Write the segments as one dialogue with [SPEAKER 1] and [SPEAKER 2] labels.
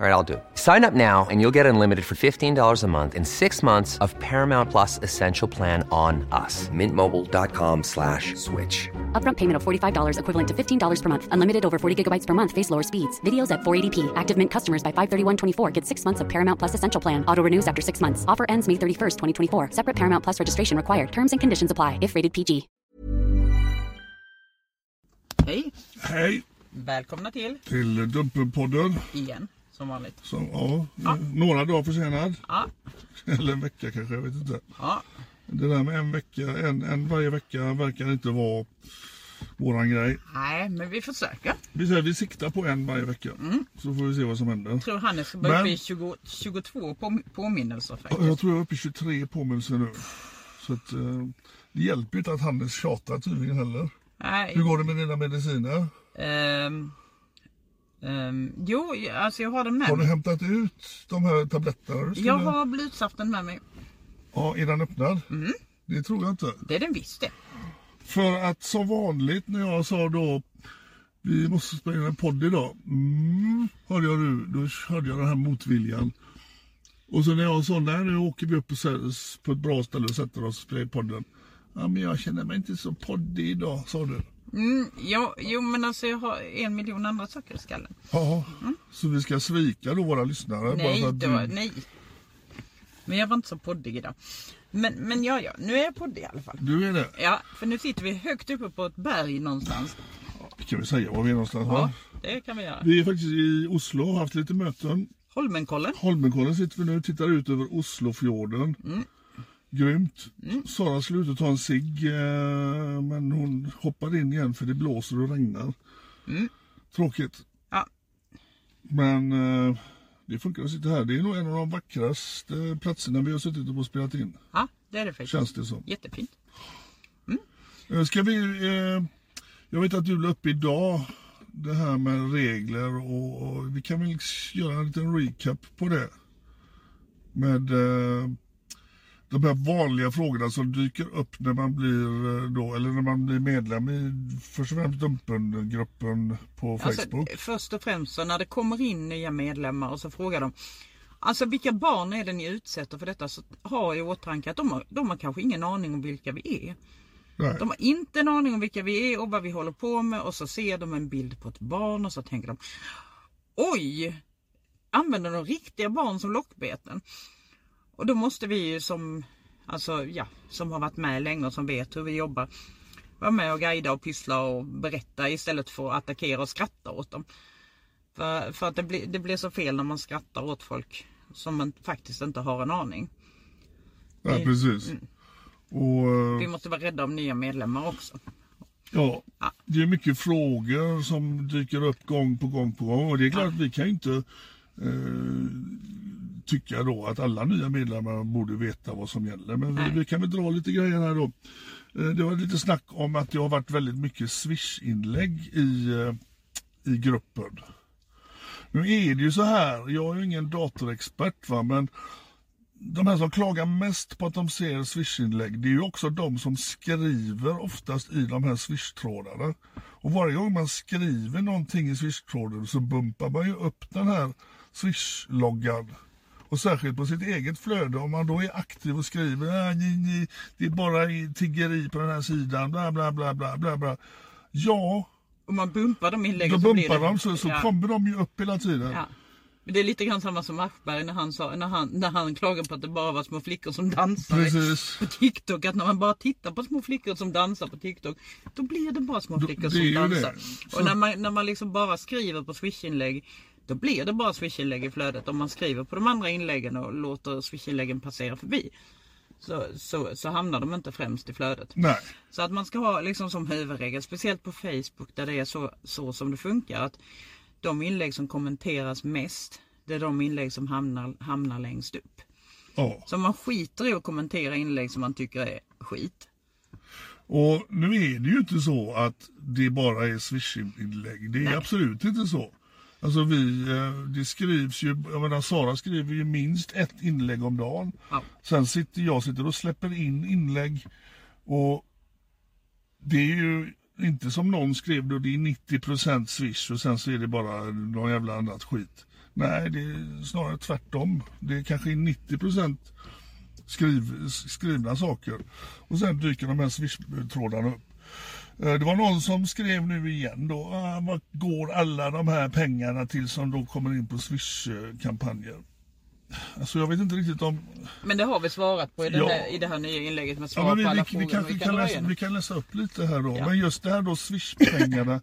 [SPEAKER 1] All right, I'll do it. Sign up now and you'll get unlimited for $15 a month in six months of Paramount Plus Essential Plan on us. Mintmobile.com slash switch.
[SPEAKER 2] Upfront payment of $45 equivalent to $15 per month. Unlimited over 40 gigabytes per month. Face lower speeds. Videos at 480p. E Active Mint customers by 531.24 get six months of Paramount Plus Essential Plan. Auto renews after six months. Offer ends May 31st, 2024. Separate Paramount Plus registration required. Terms and conditions apply if rated PG.
[SPEAKER 3] Hej!
[SPEAKER 4] Hej
[SPEAKER 3] Välkomna till,
[SPEAKER 4] till Dumpelpodden.
[SPEAKER 3] igen, som vanligt.
[SPEAKER 4] Som, ja, eh, Några dagar försenad.
[SPEAKER 3] Ja,
[SPEAKER 4] Eller en vecka kanske, jag vet inte.
[SPEAKER 3] ja,
[SPEAKER 4] Det där med en vecka, en, en varje vecka verkar inte vara våran grej.
[SPEAKER 3] nej men vi försöker.
[SPEAKER 4] Vi säger vi siktar på en varje vecka. Så får vi se vad som händer.
[SPEAKER 3] Mm. Tror Hannes ska börja
[SPEAKER 4] Men-
[SPEAKER 3] bli 20, 22 på, påminnelser
[SPEAKER 4] Ja, Jag
[SPEAKER 3] faktiskt.
[SPEAKER 4] tror jag är uppe i 23 påminnelser nu. Så att, eh, det hjälper ju inte att Hannes tjatar tydligen heller.
[SPEAKER 3] Nej,
[SPEAKER 4] Hur går det med dina mediciner?
[SPEAKER 3] ehm, ehm, jo, jag- alltså jag har den
[SPEAKER 4] Har
[SPEAKER 3] med
[SPEAKER 4] du
[SPEAKER 3] mig.
[SPEAKER 4] hämtat ut de här tabletterna? du skulle-
[SPEAKER 3] Jag har Mm. blutsaften med mig.
[SPEAKER 4] Ja, är den öppnad? Det tror jag inte.
[SPEAKER 3] Det är den visst det.
[SPEAKER 4] För att som vanligt när jag sa då vi måste spela in en podd idag. Mm, hörde jag nu, då hörde jag den här motviljan. Och så när jag sa nej nu åker vi upp och sä- på ett bra ställe och sätter oss och spelar in podden. Ja men jag känner mig inte så poddig idag sa du.
[SPEAKER 3] Mm, jo, jo, men alltså jag har en miljon andra saker i skallen.
[SPEAKER 4] Ja, så vi ska svika då våra lyssnare.
[SPEAKER 3] Nej,
[SPEAKER 4] för att
[SPEAKER 3] det
[SPEAKER 4] du-
[SPEAKER 3] var, nej. Men jag var inte så poddig idag. Men, men ja, ja, nu är jag poddig i alla fall.
[SPEAKER 4] Du är det.
[SPEAKER 3] Ja, för nu sitter vi högt uppe på ett berg någonstans.
[SPEAKER 4] Kan vi säga var vi är någonstans
[SPEAKER 3] Ja,
[SPEAKER 4] va?
[SPEAKER 3] det kan vi göra.
[SPEAKER 4] Vi är faktiskt i Oslo och har haft lite möten.
[SPEAKER 3] Holmenkollen.
[SPEAKER 4] Holmenkollen sitter vi nu och tittar ut över Oslofjorden. Grymt. Sara skulle ut och ta en cigg eh, men hon hoppade in igen för det blåser och regnar. Tråkigt.
[SPEAKER 3] Ja.
[SPEAKER 4] Men eh, det funkar att sitta här. Det är nog en av de vackraste platserna vi har suttit och spelat in.
[SPEAKER 3] ja, det är det faktiskt.
[SPEAKER 4] Känns det som.
[SPEAKER 3] Jättefint.
[SPEAKER 4] Eh, Ska vi... Eh, jag vet att du la upp idag det här med regler och, och vi kan väl göra en liten recap på det. Med eh, de här vanliga frågorna som dyker upp när man blir eh, då, eller när man blir medlem i först och främst Dumpen-gruppen på Facebook.
[SPEAKER 3] Alltså, först och främst så när det kommer in nya medlemmar och så frågar de Alltså vilka barn är det ni utsätter för detta? Så ha i åtanke att de har, de har kanske ingen aning om vilka vi är.
[SPEAKER 4] Nej.
[SPEAKER 3] De har inte en aning om vilka vi är och vad vi håller på med och så ser de en bild på ett barn och så tänker de Oj! Använder de riktiga barn som lockbeten? Och då måste vi ju som, alltså, ja, som har varit med länge och som vet hur vi jobbar vara med och guida och pyssla och berätta istället för att attackera och skratta åt dem. För, för att det blir, det blir så fel när man skrattar åt folk som man faktiskt inte har en aning.
[SPEAKER 4] Ja, precis.
[SPEAKER 3] Mm.
[SPEAKER 4] Och, eh,
[SPEAKER 3] Vi måste vara rädda om nya medlemmar också.
[SPEAKER 4] Ja,
[SPEAKER 3] Ja.
[SPEAKER 4] det är mycket frågor som dyker upp gång på gång på gång och det är klart att vi kan ju inte eh, tycka då att alla nya medlemmar borde veta vad som gäller. Men vi, vi kan väl dra lite grejer här då. Eh, det var lite snack om att det har varit väldigt mycket Swish-inlägg i, eh, i gruppen. Nu är det ju så här, jag är ju ingen datorexpert va, men de här som klagar mest på att de ser swishinlägg, det är ju också de som skriver oftast i de här swishtrådarna. Och varje gång man skriver någonting i swishtråden så bumpar man ju upp den här swishloggan. Och särskilt på sitt eget flöde. Om man då är aktiv och skriver ah, ni, ni, det är bara tiggeri på den här sidan, bla bla bla bla bla. bla. Ja,
[SPEAKER 3] Om man bumpar de
[SPEAKER 4] då
[SPEAKER 3] inläggen så blir det...
[SPEAKER 4] bumpar de så, så
[SPEAKER 3] ja.
[SPEAKER 4] kommer de ju upp hela tiden.
[SPEAKER 3] Ja. Men det är lite grann samma som Aschberg när han, sa, när, han, när han klagade på att det bara var små flickor som dansade
[SPEAKER 4] Precis.
[SPEAKER 3] på TikTok. Att när man bara tittar på små flickor som dansar på TikTok, då blir det bara små
[SPEAKER 4] Då-
[SPEAKER 3] flickor
[SPEAKER 4] det är
[SPEAKER 3] som
[SPEAKER 4] ju
[SPEAKER 3] dansar.
[SPEAKER 4] det.
[SPEAKER 3] Och när man, när man liksom bara skriver på swish-inlägg, då blir det bara swish-inlägg i flödet. Om man skriver på de andra inläggen och låter swish-inläggen passera förbi, så, så, så hamnar de inte främst i flödet.
[SPEAKER 4] Nej.
[SPEAKER 3] Så att man ska ha liksom som huvudregel, speciellt på Facebook där det är så, så som det funkar. att De inlägg som kommenteras mest, det är de inlägg som hamnar, hamnar längst upp.
[SPEAKER 4] Ja.
[SPEAKER 3] Så man skiter i att kommentera inlägg som man tycker är skit.
[SPEAKER 4] Och nu är det ju inte så att det bara är swish-inlägg. Det är absolut inte så. Alltså vi, eh, det skrivs ju, jag menar Sara skriver ju minst ett inlägg om dagen.
[SPEAKER 3] Ja.
[SPEAKER 4] Sen sitter jag sitter och släpper in inlägg och det är ju inte som någon skrev då, det är 90% swish och sen så är det bara någon jävla annat skit. Nej, det är snarare tvärtom. Det är kanske 90% skriv, skrivna saker. Och sen dyker de här swish-trådarna upp. Eh, Det var någon som skrev nu igen då, ah, vad går alla de här pengarna till som då kommer in på swish-kampanjer? Alltså jag vet inte riktigt om...
[SPEAKER 3] Men det har vi svarat på i, den
[SPEAKER 4] Ja.
[SPEAKER 3] där, i det här nya inlägget med svar
[SPEAKER 4] Ja, men
[SPEAKER 3] på alla
[SPEAKER 4] vi, vi,
[SPEAKER 3] frågor.
[SPEAKER 4] vi, kanske
[SPEAKER 3] Vi
[SPEAKER 4] kan
[SPEAKER 3] dra
[SPEAKER 4] läsa,
[SPEAKER 3] igenom.
[SPEAKER 4] vi kan läsa upp lite här då.
[SPEAKER 3] Ja.
[SPEAKER 4] Men just det här då swish-pengarna.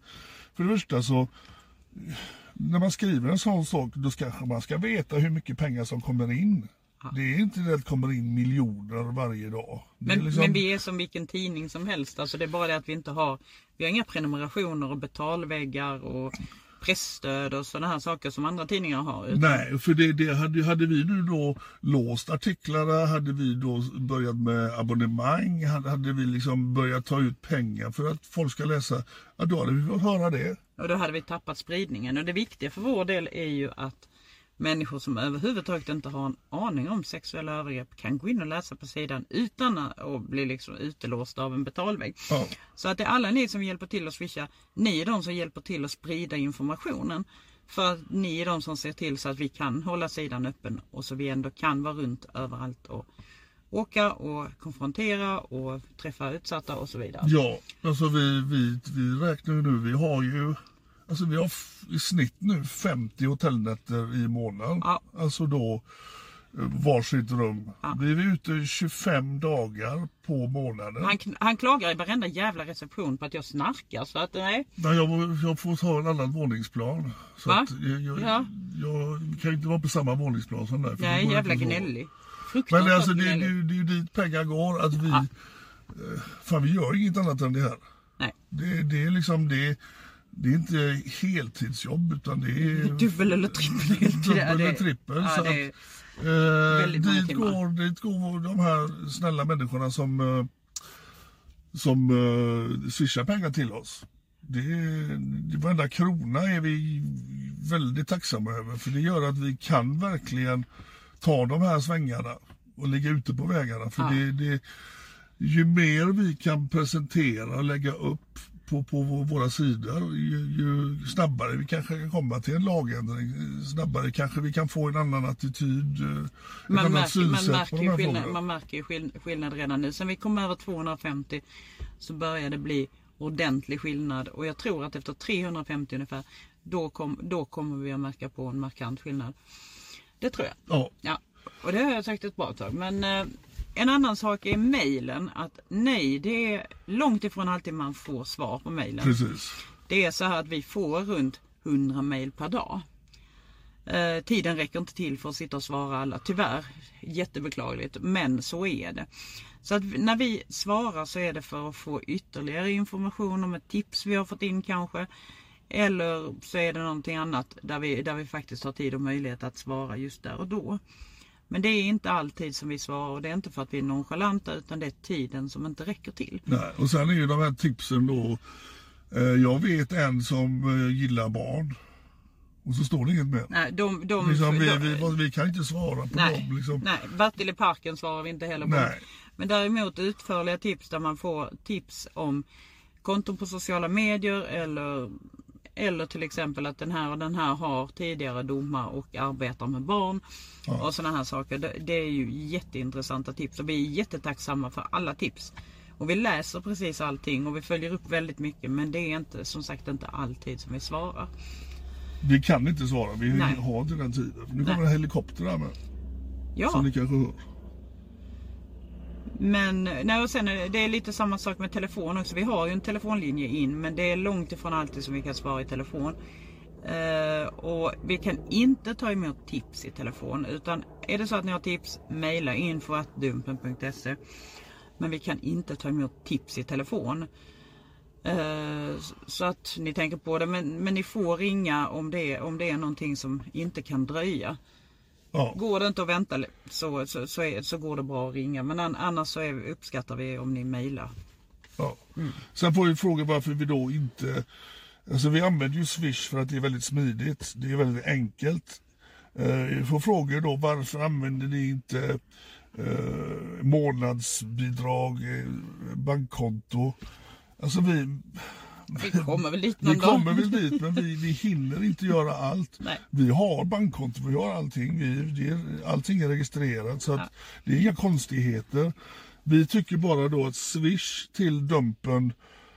[SPEAKER 4] för det första så, när man skriver en sån sak då kanske man ska veta hur mycket pengar som kommer in. Det är inte det att det kommer in miljoner varje dag. Det är
[SPEAKER 3] Men,
[SPEAKER 4] liksom-
[SPEAKER 3] men vi är som vilken tidning som helst. Alltså det är bara det att vi inte har, vi har inga prenumerationer och betalväggar och pressstöd och sådana här saker som andra tidningar har. Utan
[SPEAKER 4] Nej, för det, det hade, hade vi nu då låst artiklarna, hade vi då börjat med abonnemang, hade, hade vi liksom börjat ta ut pengar för att folk ska läsa, ja då hade vi fått höra det.
[SPEAKER 3] Och då hade vi tappat spridningen. Och det viktiga för vår del är ju att människor som överhuvudtaget inte har en aning om sexuella övergrepp kan gå in och läsa på sidan utan att bli liksom utelåsta av en betalvägg.
[SPEAKER 4] Ja.
[SPEAKER 3] Så att det är alla ni som hjälper till att swisha, ni är de som hjälper till att sprida informationen. För att ni är de som ser till så att vi kan hålla sidan öppen och så vi ändå kan vara runt överallt och åka och konfrontera och träffa utsatta och så vidare.
[SPEAKER 4] Ja, alltså vi, vi, vi räknar ju nu, vi har ju Alltså vi har f- i snitt nu 50 hotellnätter i månaden.
[SPEAKER 3] Ja.
[SPEAKER 4] Alltså då eh, varsitt rum. Vi är ute i 25 dagar på månaden.
[SPEAKER 3] Han, kn- han klagar i varenda jävla reception på att jag snarkar så att nej.
[SPEAKER 4] Nej, jag, må- jag får ta en annan våningsplan. Så
[SPEAKER 3] Va?
[SPEAKER 4] att jag, jag,
[SPEAKER 3] Ja.
[SPEAKER 4] jag kan ju inte vara på samma våningsplan som dig. för
[SPEAKER 3] Jag
[SPEAKER 4] då
[SPEAKER 3] är
[SPEAKER 4] går det
[SPEAKER 3] jävla
[SPEAKER 4] inte att sova.
[SPEAKER 3] gnällig.
[SPEAKER 4] Mm. Men
[SPEAKER 3] Fruktansvärt
[SPEAKER 4] det, är alltså, det, det,
[SPEAKER 3] gnällig.
[SPEAKER 4] är ju- det är ju dit pengar går. Att vi, eh, Fan, vi gör inget annat än det här.
[SPEAKER 3] Nej.
[SPEAKER 4] Det, det är liksom det. Det är inte heltidsjobb utan det är
[SPEAKER 3] Dubbel eller trippel.
[SPEAKER 4] dubbel eller trippel.
[SPEAKER 3] Ja,
[SPEAKER 4] så
[SPEAKER 3] det är,
[SPEAKER 4] att, eh,
[SPEAKER 3] väldigt många
[SPEAKER 4] dit,
[SPEAKER 3] timmar.
[SPEAKER 4] går, dit går de här snälla människorna som, eh, som eh, swishar pengar till oss. Det, det, varenda krona är vi väldigt tacksamma över för det gör att vi kan verkligen ta de här svängarna och ligga ute på vägarna. För det, det, ju mer vi kan presentera och lägga upp på, på vå- våra sidor, ju, ju snabbare vi kanske kan komma till en lagändring, eh, snabbare kanske vi kan få en annan attityd, eh, ett
[SPEAKER 3] man,
[SPEAKER 4] annat
[SPEAKER 3] märker, man,
[SPEAKER 4] synsätt
[SPEAKER 3] märker
[SPEAKER 4] på de
[SPEAKER 3] ju
[SPEAKER 4] här
[SPEAKER 3] skillnad,
[SPEAKER 4] frågorna.
[SPEAKER 3] man märker ju skill- skillnad redan nu. Sen vi kom över 250 så började det bli ordentlig skillnad. Och jag tror att efter 350 ungefär, då, kom, då kommer vi att märka på en markant skillnad. Det tror jag.
[SPEAKER 4] Ja,
[SPEAKER 3] Ja, och det har jag sagt ett bra tag. Men eh, en annan sak är mejlen. Att nej, det är långt ifrån alltid man får svar på mejlen.
[SPEAKER 4] precis.
[SPEAKER 3] Det är så här att vi får runt 100 mejl per dag. Eh, tiden räcker inte till för att sitta och svara alla. Tyvärr, jättebeklagligt, men så är det. Så att när vi svarar så är det för att få ytterligare information om ett tips vi har fått in kanske. Eller så är det någonting annat där vi, där vi faktiskt har tid och möjlighet att svara just där och då. Men det är inte alltid som vi svarar och det är inte för att vi är nonchalanta utan det är tiden som inte räcker till.
[SPEAKER 4] Nej, och sen är ju de här tipsen då. Eh, jag vet en som eh, gillar barn. Och så står det inget mer.
[SPEAKER 3] Nej, de, de,
[SPEAKER 4] Liksom, vi,
[SPEAKER 3] de-
[SPEAKER 4] vi, vad- vi kan inte svara på
[SPEAKER 3] Nej,
[SPEAKER 4] dem. Liksom.
[SPEAKER 3] nej. Bertil i parken svarar vi inte heller på.
[SPEAKER 4] Nej.
[SPEAKER 3] Men däremot utförliga tips där man får tips om konton på sociala medier eller Eller till exempel att den här och den här har tidigare domar och arbetar med barn. Och sådana här saker. Det, det är ju jätteintressanta tips och vi är jättetacksamma för alla tips. Och vi läser precis allting och vi följer upp väldigt mycket men det är inte som sagt inte alltid som vi svarar.
[SPEAKER 4] Vi kan inte svara, vi
[SPEAKER 3] Nej.
[SPEAKER 4] har inte den tiden. Nu kommer
[SPEAKER 3] Nej.
[SPEAKER 4] en helikopter här med. Som
[SPEAKER 3] Ja,
[SPEAKER 4] ni kanske hör.
[SPEAKER 3] men nej, och sen är det- det är lite samma sak med telefon också. Vi har ju en telefonlinje in men det är långt ifrån alltid som vi kan svara i telefon. Eh, och vi kan inte ta emot tips i telefon utan är det så att ni har tips, mejla info.dumpen.se Men vi kan inte ta emot tips i telefon. Eh, s- Så att ni tänker på det. Men, men ni får ringa om det, om det är någonting som inte kan dröja.
[SPEAKER 4] Ja.
[SPEAKER 3] Går det inte att vänta li- så, så, så, är, så går det bra att ringa. Men an, annars så är, vi- uppskattar vi om ni mejlar.
[SPEAKER 4] Ja.
[SPEAKER 3] Mm.
[SPEAKER 4] Sen får vi fråga varför vi då inte... Alltså vi använder ju Swish för att det är väldigt smidigt. Det är väldigt enkelt. Eh, Vi får frågor då varför använder ni inte eh, månadsbidrag, eh, bankkonto. Alltså vi,
[SPEAKER 3] Vi kommer väl dit någon
[SPEAKER 4] vi kommer
[SPEAKER 3] dag.
[SPEAKER 4] väl dit men vi, vi hinner inte göra allt.
[SPEAKER 3] Nej.
[SPEAKER 4] Vi har bankkonto, vi har allting. Vi, det är, allting är registrerat så att det är inga konstigheter. Vi tycker bara då att Swish till Dumpen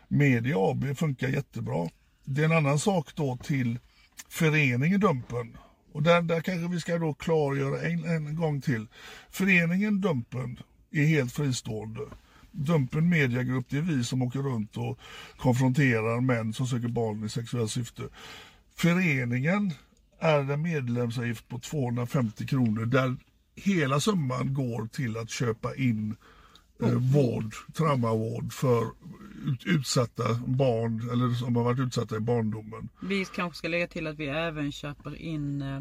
[SPEAKER 4] Media AB funkar jättebra. Det är en annan sak då till föreningen Dumpen. Och där, där kanske vi ska då klargöra en, en gång till. Föreningen Dumpen är helt fristående. Dumpen Mediagrupp, det är vi som åker runt och konfronterar män som söker barn i sexuellt syfte. Föreningen är en medlemsavgift på 250 kronor där hela summan går till att köpa in eh, vård, traumavård för ut, utsatta barn eller som har varit utsatta i barndomen.
[SPEAKER 3] Vi kanske ska lägga till att vi även köper in eh,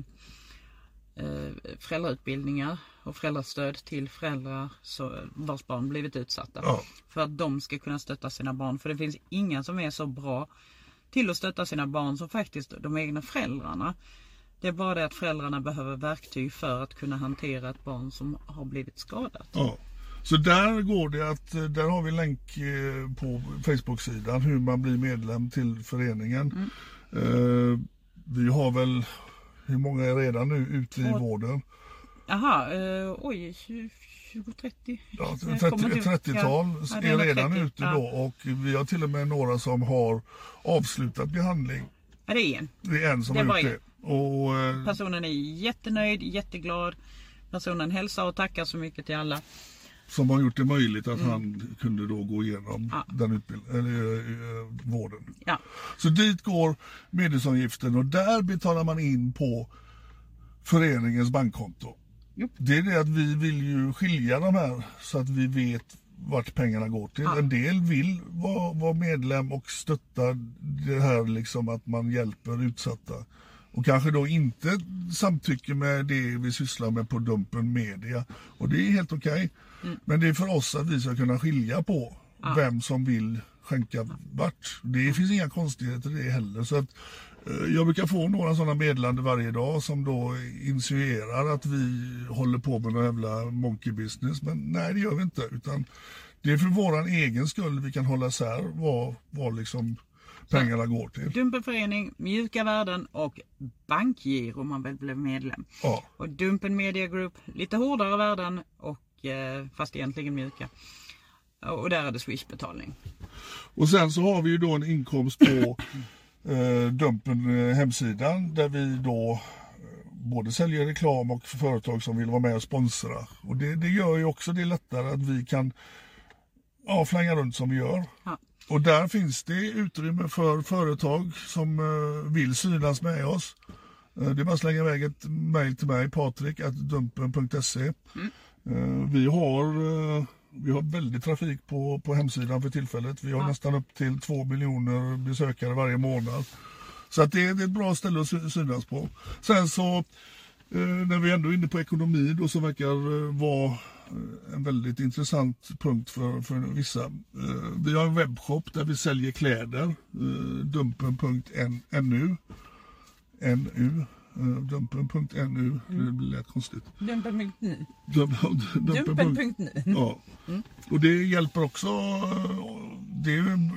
[SPEAKER 3] eh, föräldrautbildningar och föräldrastöd till föräldrar så, vars barn blivit utsatta.
[SPEAKER 4] Ja.
[SPEAKER 3] För att de ska kunna stötta sina barn. För det finns ingen som är så bra till att stötta sina barn som faktiskt de egna föräldrarna. Det är bara det att föräldrarna behöver verktyg för att kunna hantera ett barn som har blivit skadat.
[SPEAKER 4] Ja. Så där går det att, eh, där har vi en länk eh, på Facebook-sidan hur man blir medlem till föreningen. Eh, vi har väl, hur många är redan nu ute i vården?
[SPEAKER 3] Jaha, eh, oj, 20-30?
[SPEAKER 4] Ja, 30, 30-tal är redan ute då och vi har till och med några som har avslutat behandling.
[SPEAKER 3] Ja, det är en.
[SPEAKER 4] Det är en som
[SPEAKER 3] Det
[SPEAKER 4] har
[SPEAKER 3] var
[SPEAKER 4] gjort
[SPEAKER 3] en.
[SPEAKER 4] det. Och, eh,
[SPEAKER 3] Personen är jättenöjd, jätteglad. Personen hälsar och tackar så mycket till alla.
[SPEAKER 4] som har gjort det möjligt att han kunde då gå igenom
[SPEAKER 3] Mm. Ja.
[SPEAKER 4] den utbild- eller, eh, vården.
[SPEAKER 3] Ja,
[SPEAKER 4] Så dit går medlemsavgiften och där betalar man in på föreningens bankkonto. Det är det att vi vill ju skilja de här så att vi vet vart pengarna går till. En del vill vara, vara medlem och stötta det här liksom att man hjälper utsatta. Och kanske då inte samtycker med det vi sysslar med på Dumpen Media. Och det är helt okej. Men det är för oss att vi ska kunna skilja på vem som vill skänka vart. Det finns inga konstigheter i det heller. Så att, eh, jag brukar få några sådana meddelanden varje dag som då insinuerar att vi håller på med någon jävla monkey business. Men nej, det gör vi inte. Utan det är för våran egen skull vi kan hålla isär vad, vad liksom pengarna går till.
[SPEAKER 3] Dumpenförening, Mjuka värden och Bankgiro om man väl blev medlem.
[SPEAKER 4] Ja.
[SPEAKER 3] Och Dumpen Media Group, lite hårdare värden och eh, fast egentligen mjuka. Och där är det Swish-betalning.
[SPEAKER 4] Och sen så har vi ju då en inkomst på eh, Dumpen eh, hemsidan där vi då eh, både säljer reklam och företag som vill vara med och sponsra. Och det, det gör ju också det lättare att vi kan ja, flänga runt som vi gör.
[SPEAKER 3] Ja.
[SPEAKER 4] Och där finns det utrymme för företag som eh, vill synas med oss. Eh, det är bara att slänga iväg ett mejl till mig, patrik.dumpen.se. Eh, Vi har, eh, vi har väldigt trafik på, på hemsidan för tillfället. Vi har nästan upp till två miljoner besökare varje månad. Så att det, är- det är ett bra ställe att sy- synas på. Sen så, eh, när vi ändå är inne på ekonomi då, så verkar eh, vara eh, en väldigt intressant punkt för, för vissa. Eh, vi har en webbshop där vi säljer kläder, eh, dumpen.nu. NU, eh, dumpen.nu, det lät konstigt.
[SPEAKER 3] Dumpen.nu.
[SPEAKER 4] Dum- Dumpen.
[SPEAKER 3] Dumpen.nu.
[SPEAKER 4] Ja. Och det hjälper också. eh, Det är ju en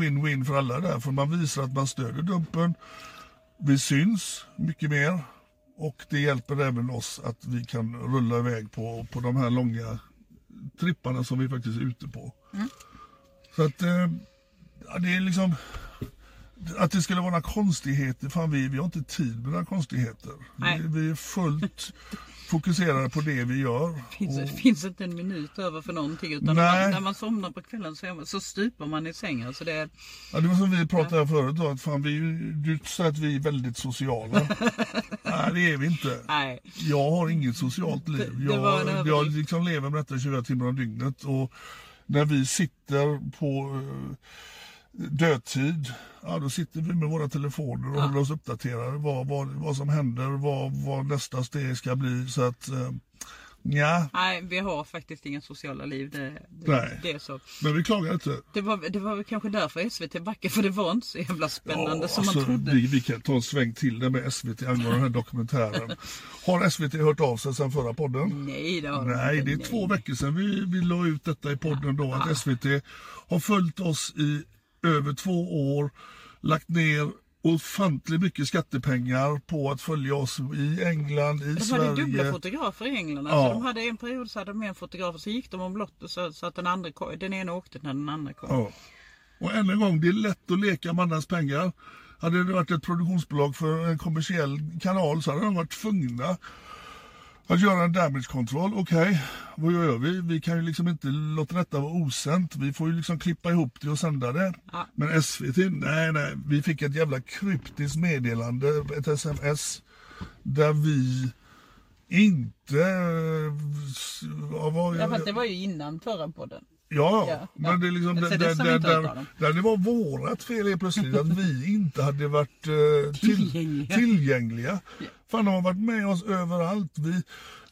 [SPEAKER 4] win-win för alla där. För man visar att man stöder Dumpen. Vi syns mycket mer. Och det hjälper även oss att vi kan rulla iväg på, på de här långa tripparna som vi faktiskt är ute på. Så att eh, ja, det är liksom att det skulle vara några konstigheter, fan vi, vi har inte tid med några konstigheter.
[SPEAKER 3] Nej.
[SPEAKER 4] Vi, vi är fullt fokuserade på det vi gör.
[SPEAKER 3] Finns, finns inte en minut över för någonting utan när
[SPEAKER 4] Mm. Nej.
[SPEAKER 3] man, när man somnar på kvällen så, är man, så stupar man i sängen. Så det är,
[SPEAKER 4] Ja, det var som vi pratade här förut då, att fan, vi, är ju- du sa att vi är väldigt sociala. Nej det är vi inte.
[SPEAKER 3] nej.
[SPEAKER 4] Jag har inget socialt liv.
[SPEAKER 3] det var en
[SPEAKER 4] Jag, jag
[SPEAKER 3] överblick.
[SPEAKER 4] liksom lever med detta 24 timmar om dygnet. Och när vi sitter på eh, dödtid, ja, då sitter vi med våra telefoner och håller oss uppdaterade. Vad, vad, vad som händer, vad, vad nästa steg ska bli. Så att, eh, ja,
[SPEAKER 3] nej, vi har faktiskt inga sociala liv. Det, det,
[SPEAKER 4] Nej.
[SPEAKER 3] det är så.
[SPEAKER 4] men vi klagar inte.
[SPEAKER 3] Det var, det var väl kanske därför SVT backade för det var inte så jävla spännande som man trodde.
[SPEAKER 4] Alltså, vi, vi kan ta en sväng till där med SVT angående den här dokumentären. Har SVT hört av sig sedan förra podden?
[SPEAKER 3] Nej, det har de
[SPEAKER 4] Nej,
[SPEAKER 3] inte.
[SPEAKER 4] det är två veckor sedan vi, vi la ut detta i podden då att SVT har följt oss i över två år, lagt ner ofantligt mycket skattepengar på att följa oss i England, i
[SPEAKER 3] De
[SPEAKER 4] Sverige.
[SPEAKER 3] hade dubbla fotografer i England. Alltså, de hade en period så hade de en fotograf och så gick de om lott och så, så att den, andra, kom- den ena åkte när den andra kom.
[SPEAKER 4] Ja. Och än en gång, det är lätt att leka med andras pengar. Hade det varit ett produktionsbolag för en kommersiell kanal så hade de varit tvungna att göra en damage-kontroll. Okej, vad gör vi? Vi kan ju liksom inte låta detta vara osänt. Vi får ju liksom klippa ihop det och sända det. Men SVT, nej, nej. Vi fick ett jävla kryptiskt meddelande, ett sms, där vi inte... eh, Ja, vad-
[SPEAKER 3] Ja, fast det var ju innan förra podden.
[SPEAKER 4] Ja,
[SPEAKER 3] Ja, ja.
[SPEAKER 4] men det är liksom
[SPEAKER 3] Men
[SPEAKER 4] där,
[SPEAKER 3] så det
[SPEAKER 4] där,
[SPEAKER 3] som
[SPEAKER 4] där,
[SPEAKER 3] inte utav
[SPEAKER 4] där,
[SPEAKER 3] dem.
[SPEAKER 4] det var vårat fel helt plötsligt att vi inte hade varit eh, till,
[SPEAKER 3] Tillgängliga.
[SPEAKER 4] tillgängliga. Fan, de har varit med oss överallt. Vi,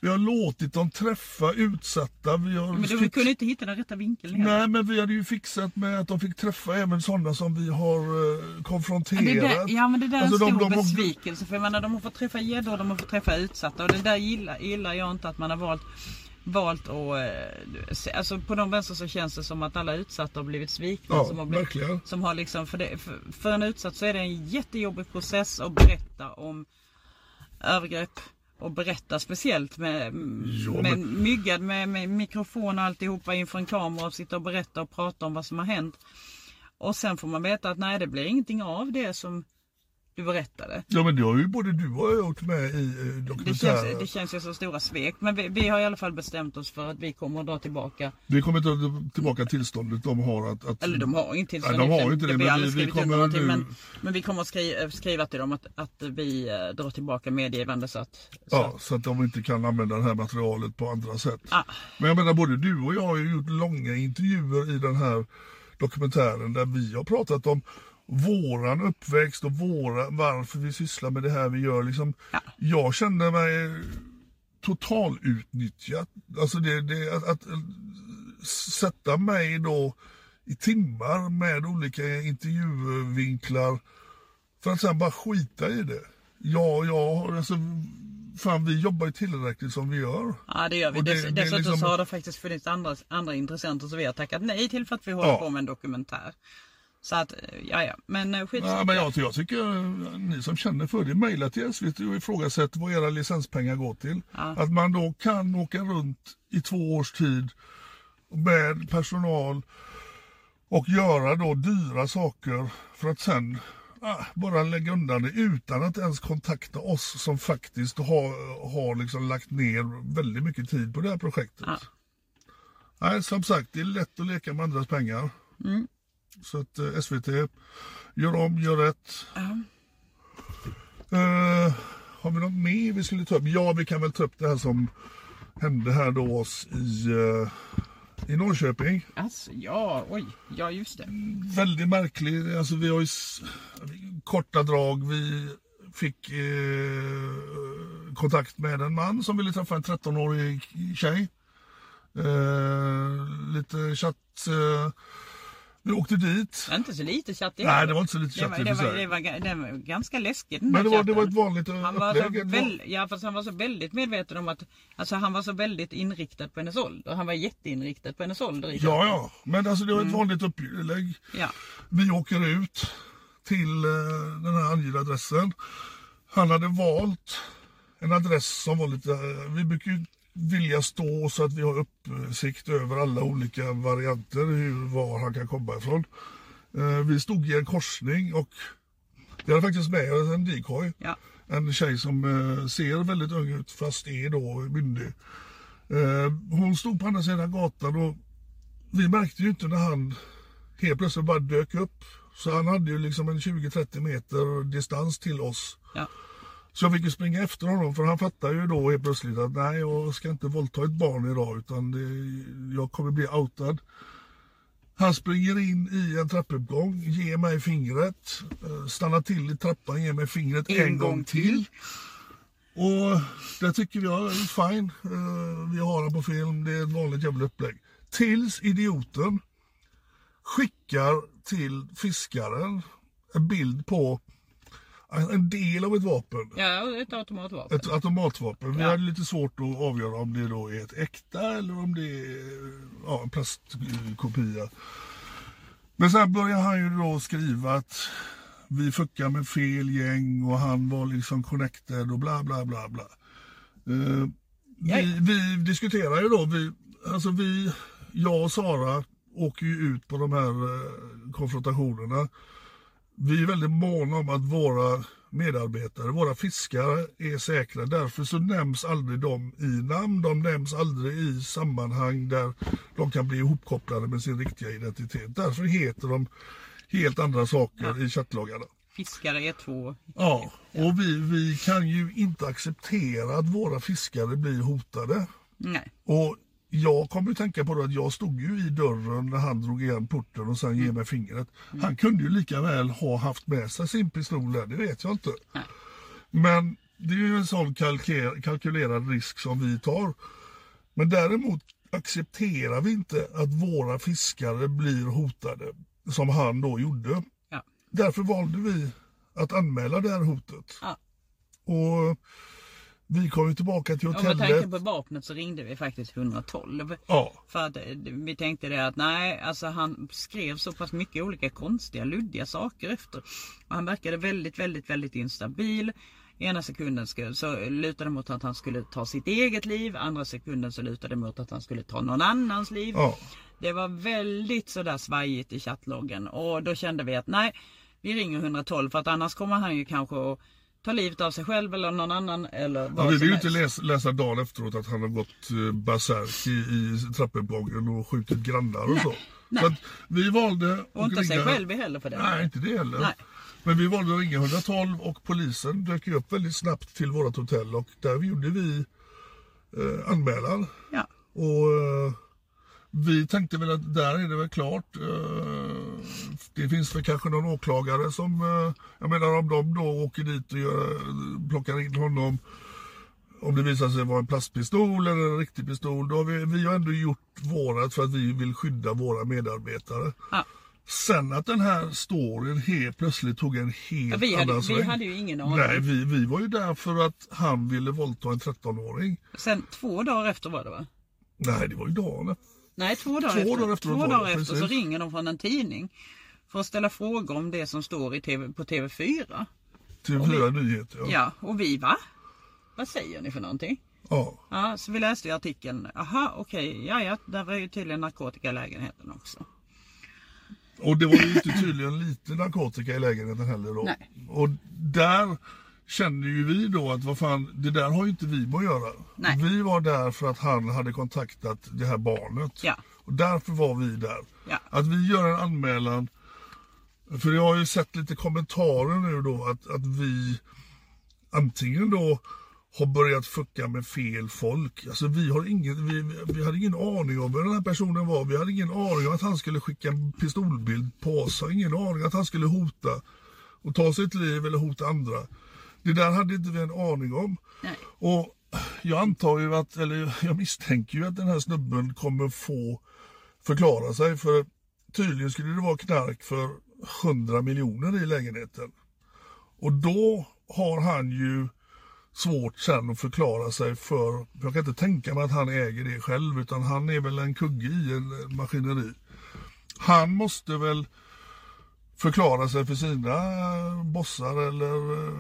[SPEAKER 4] vi har låtit dem träffa utsatta. Vi har
[SPEAKER 3] Men de
[SPEAKER 4] fix-
[SPEAKER 3] kunde inte hitta den rätta vinkeln heller.
[SPEAKER 4] Nej, men vi hade ju fixat med att de fick träffa även sådana som vi har eh, konfronterat.
[SPEAKER 3] Det där, ja men det där är
[SPEAKER 4] Alltså,
[SPEAKER 3] en stor
[SPEAKER 4] åkte-
[SPEAKER 3] besvikelse för jag menar, de har fått träffa gäddor och de har fått träffa utsatta och det där gillar, gillar jag inte att man har valt valt och alltså på de vänster så känns det som att alla utsatta har blivit svikna.
[SPEAKER 4] Ja,
[SPEAKER 3] som har blivit,
[SPEAKER 4] verkligen.
[SPEAKER 3] som har liksom, för, det, för, för en utsatt så är det en jättejobbig process att berätta om övergrepp och berätta speciellt med, med myggad med, med mikrofon och alltihopa inför en kamera och sitta och berätta och prata om vad som har hänt. Och sen får man veta att nej det blir ingenting av det som du berättade.
[SPEAKER 4] Ja, men det har ju både du och jag gjort med i eh,
[SPEAKER 3] Det känns,
[SPEAKER 4] dokumentären.
[SPEAKER 3] det känns ju som stora svek men vi, vi har i alla fall bestämt oss för att vi kommer att dra tillbaka.
[SPEAKER 4] Vi kommer inte att- tillbaka tillståndet de har att... att
[SPEAKER 3] Eller de har ju inte tillstånd.
[SPEAKER 4] Ja, de har ju
[SPEAKER 3] egentligen.
[SPEAKER 4] inte det,
[SPEAKER 3] vi
[SPEAKER 4] men
[SPEAKER 3] har aldrig
[SPEAKER 4] vi- vi
[SPEAKER 3] skrivit under
[SPEAKER 4] kommer
[SPEAKER 3] någonting,
[SPEAKER 4] nu-
[SPEAKER 3] men, men vi kommer att skriva, skriva till dem att, att vi eh, drar tillbaka medgivande så att... Så
[SPEAKER 4] Ja, så att de inte kan använda det här materialet på andra sätt.
[SPEAKER 3] Ah.
[SPEAKER 4] Men jag menar både du och jag har ju gjort långa intervjuer i den här dokumentären där vi har pratat om våran uppväxt och våra, varför vi sysslar med det här vi gör. Liksom,
[SPEAKER 3] Ja.
[SPEAKER 4] Jag kände mig totalutnyttjad. Alltså det, det, att, att sätta mig då i timmar med olika intervjuvinklar för att sen bara skita i det. Ja, ja, alltså fan vi jobbar ju tillräckligt som vi gör.
[SPEAKER 3] Ja det gör vi.
[SPEAKER 4] Och det-
[SPEAKER 3] Dess,
[SPEAKER 4] det är
[SPEAKER 3] dessutom
[SPEAKER 4] liksom-
[SPEAKER 3] så har det faktiskt funnits andra, andra intressenter som vi har tackat nej till för att vi håller
[SPEAKER 4] Ja.
[SPEAKER 3] på med en dokumentär. Så att, eh, ja ja. Men eh, skit
[SPEAKER 4] Ja, men jag, jag tycker eh, ni som känner för det, mejla till SVT och ifrågasätt vad era licenspengar går till. Att man då kan åka runt i två års tid med personal och göra då dyra saker för att sen ah, bara lägga undan det utan att ens kontakta oss som faktiskt har, har liksom lagt ner väldigt mycket tid på det här projektet. Nej, som sagt, det är lätt att leka med andras pengar. Så att eh, SVT, gör om, gör rätt. Eh, har vi något mer vi skulle ta upp? Ja, vi kan väl ta upp det här som hände här då oss i, eh, i Norrköping.
[SPEAKER 3] Alltså, ja, oj, ja just det.
[SPEAKER 4] väldigt märklig. Alltså vi har ju s- korta drag. Vi fick eh, kontakt med en man som ville träffa en 13-årig tjej. Eh, lite chatt. Eh, Vi åkte dit.
[SPEAKER 3] Det var inte så lite chattig.
[SPEAKER 4] Nej, det var inte så lite
[SPEAKER 3] Det var,
[SPEAKER 4] chattig
[SPEAKER 3] det,
[SPEAKER 4] för
[SPEAKER 3] var,
[SPEAKER 4] sig.
[SPEAKER 3] det, var, ga- den var ganska läskig den
[SPEAKER 4] Men det
[SPEAKER 3] där
[SPEAKER 4] var, det var ett
[SPEAKER 3] chatten.
[SPEAKER 4] vanligt eh,
[SPEAKER 3] han var så
[SPEAKER 4] upplägg. Det var-
[SPEAKER 3] väl, ja, fast han var så väldigt medveten om att alltså, han var så väldigt inriktad på hennes ålder. Han var jätteinriktad på hennes ålder. i
[SPEAKER 4] Ja, ja. Men alltså det var ett vanligt upplägg.
[SPEAKER 3] Ja.
[SPEAKER 4] Vi åker ut till eh, den här angivna adressen. Han hade valt en adress som var lite... eh, Vi brukar ju vilja stå så att vi har uppsikt över alla olika varianter, hur, var han kan komma ifrån. Eh, Vi stod i en korsning och vi hade faktiskt med oss en decoy.
[SPEAKER 3] Ja.
[SPEAKER 4] En tjej som eh, ser väldigt ung ut fast är då myndig. Eh, hon stod på andra sidan gatan och vi märkte ju inte när han helt plötsligt bara dök upp. Så han hade ju liksom en 20-30 meter distans till oss.
[SPEAKER 3] Ja.
[SPEAKER 4] Så jag fick ju springa efter honom för han fattade ju då helt plötsligt att nej jag ska inte våldta ett barn idag utan det, jag kommer bli outad. Han springer in i en trappuppgång, ger mig fingret, eh, stannar till i trappan, ger mig fingret en, gång, till. Och det tycker vi är fine. Eh, Vi har den på film, det är ett vanligt jävla upplägg. Tills idioten skickar till fiskaren en bild på en- en del av ett vapen.
[SPEAKER 3] ja, ett automatvapen.
[SPEAKER 4] Ett automatvapen. Vi
[SPEAKER 3] Ja.
[SPEAKER 4] hade lite svårt att avgöra om det då är ett äkta eller om det är ja, en plastkopia. Men sen började han ju då skriva att vi fuckar med fel gäng och han var liksom connected och bla bla bla bla. Eh, vi, vi diskuterar ju då, vi, alltså vi, jag och Sara åker ju ut på de här eh, konfrontationerna. Vi är väldigt måna om att våra medarbetare, våra fiskare är säkra. Därför så nämns aldrig de i namn. De nämns aldrig i sammanhang där de kan bli ihopkopplade med sin riktiga identitet. Därför heter de helt andra saker i chattloggarna.
[SPEAKER 3] Fiskare är två.
[SPEAKER 4] Ja, och vi, vi kan ju inte acceptera att våra fiskare blir hotade.
[SPEAKER 3] Nej.
[SPEAKER 4] Och jag kommer att tänka på då att jag stod ju i dörren när han drog igen porten och sen ge
[SPEAKER 3] Mm.
[SPEAKER 4] mig fingret. Han kunde ju lika väl ha haft med sig sin pistol där, det vet jag inte. Men det är ju en sån kalker- kalkylerad risk som vi tar. Men däremot accepterar vi inte att våra fiskare blir hotade, som han då gjorde.
[SPEAKER 3] Ja.
[SPEAKER 4] Därför valde vi att anmäla det här hotet.
[SPEAKER 3] Ja.
[SPEAKER 4] Och vi kom ju tillbaka till
[SPEAKER 3] Och med tanke
[SPEAKER 4] hotellet.
[SPEAKER 3] på vapnet så ringde vi faktiskt 112.
[SPEAKER 4] Ja,
[SPEAKER 3] För att eh, vi tänkte det att nej, alltså han skrev så pass mycket olika konstiga, luddiga saker efter. Och han verkade väldigt, väldigt, väldigt instabil. Ena sekunden ska- så lutade det mot att han skulle ta sitt eget liv, andra sekunden så lutade det mot att han skulle ta någon annans liv.
[SPEAKER 4] ja.
[SPEAKER 3] Det var väldigt sådär svajigt i chattloggen och då kände vi att nej, vi ringer 112 för att annars kommer han ju kanske att ta livet av sig själv eller någon annan eller vad
[SPEAKER 4] Ja, vi
[SPEAKER 3] som
[SPEAKER 4] vill ju
[SPEAKER 3] helst.
[SPEAKER 4] inte läsa, läsa dagen efteråt att han har gått eh, berserk i, i trappuppgången och skjutit grannar och så. Så att vi valde
[SPEAKER 3] Och inte sig själv heller för det.
[SPEAKER 4] Nej, inte det heller.
[SPEAKER 3] Nej.
[SPEAKER 4] Men vi valde att ringa 112 och polisen dök ju upp väldigt snabbt till vårt hotell och där gjorde vi eh, anmälan.
[SPEAKER 3] Ja.
[SPEAKER 4] Och eh, vi tänkte väl att där är det väl klart. Eh, det finns väl kanske någon åklagare som, eh, jag menar om de då åker dit och gör, eh, plockar in honom. Om det visar sig vara en plastpistol eller en riktig pistol. Då har vi, vi har ändå gjort vårat för att vi vill skydda våra medarbetare.
[SPEAKER 3] Ja.
[SPEAKER 4] Sen att den här storyn helt plötsligt tog en helt
[SPEAKER 3] Ja, vi hade-
[SPEAKER 4] annan
[SPEAKER 3] vi
[SPEAKER 4] sväng.
[SPEAKER 3] hade ju ingen aning.
[SPEAKER 4] Nej, vi, vi var ju där för att han ville våldta en 13-åring.
[SPEAKER 3] Sen två dagar efter var det va?
[SPEAKER 4] Nej, det var ju dagen efter.
[SPEAKER 3] Nej, två dagar
[SPEAKER 4] Två
[SPEAKER 3] efter,
[SPEAKER 4] dagar efter
[SPEAKER 3] två
[SPEAKER 4] var det,
[SPEAKER 3] dagar efter så
[SPEAKER 4] precis.
[SPEAKER 3] ringer de från en tidning för att ställa frågor om det som står i TV, på TV4.
[SPEAKER 4] Till fyra nyheter. Ja.
[SPEAKER 3] Ja, och vi va? Vad säger ni för någonting?
[SPEAKER 4] Ja.
[SPEAKER 3] Ja, så vi läste ju artikeln. Aha, okej, ja, ja, där var ju tydligen narkotika i lägenheten också.
[SPEAKER 4] Och det var ju inte tydligen lite narkotika i lägenheten heller då.
[SPEAKER 3] Nej.
[SPEAKER 4] Och där kände ju vi då att vad fan, det där har ju inte vi med att göra.
[SPEAKER 3] Nej.
[SPEAKER 4] Vi var där för att han hade kontaktat det här barnet.
[SPEAKER 3] Ja.
[SPEAKER 4] Och därför var vi där.
[SPEAKER 3] Ja.
[SPEAKER 4] Att vi gör en anmälan, för jag har ju sett lite kommentarer nu då att, att vi antingen då har börjat fucka med fel folk. Alltså vi, har ingen, vi, vi hade ingen aning om vem den här personen var. Vi hade ingen aning om att han skulle skicka en pistolbild på oss. Jag hade Ingen aning om att han skulle hota och ta sitt liv eller hota andra. Det där hade inte vi en aning om.
[SPEAKER 3] Nej.
[SPEAKER 4] Och jag antar ju att, eller jag misstänker ju att den här snubben kommer få förklara sig för tydligen skulle det vara knark för 100 miljoner i lägenheten. Och då har han ju svårt sen att förklara sig för, jag kan inte tänka mig att han äger det själv utan han är väl en kugge i en eh, maskineri. Han måste väl förklara sig för sina eh, bossar eller eh,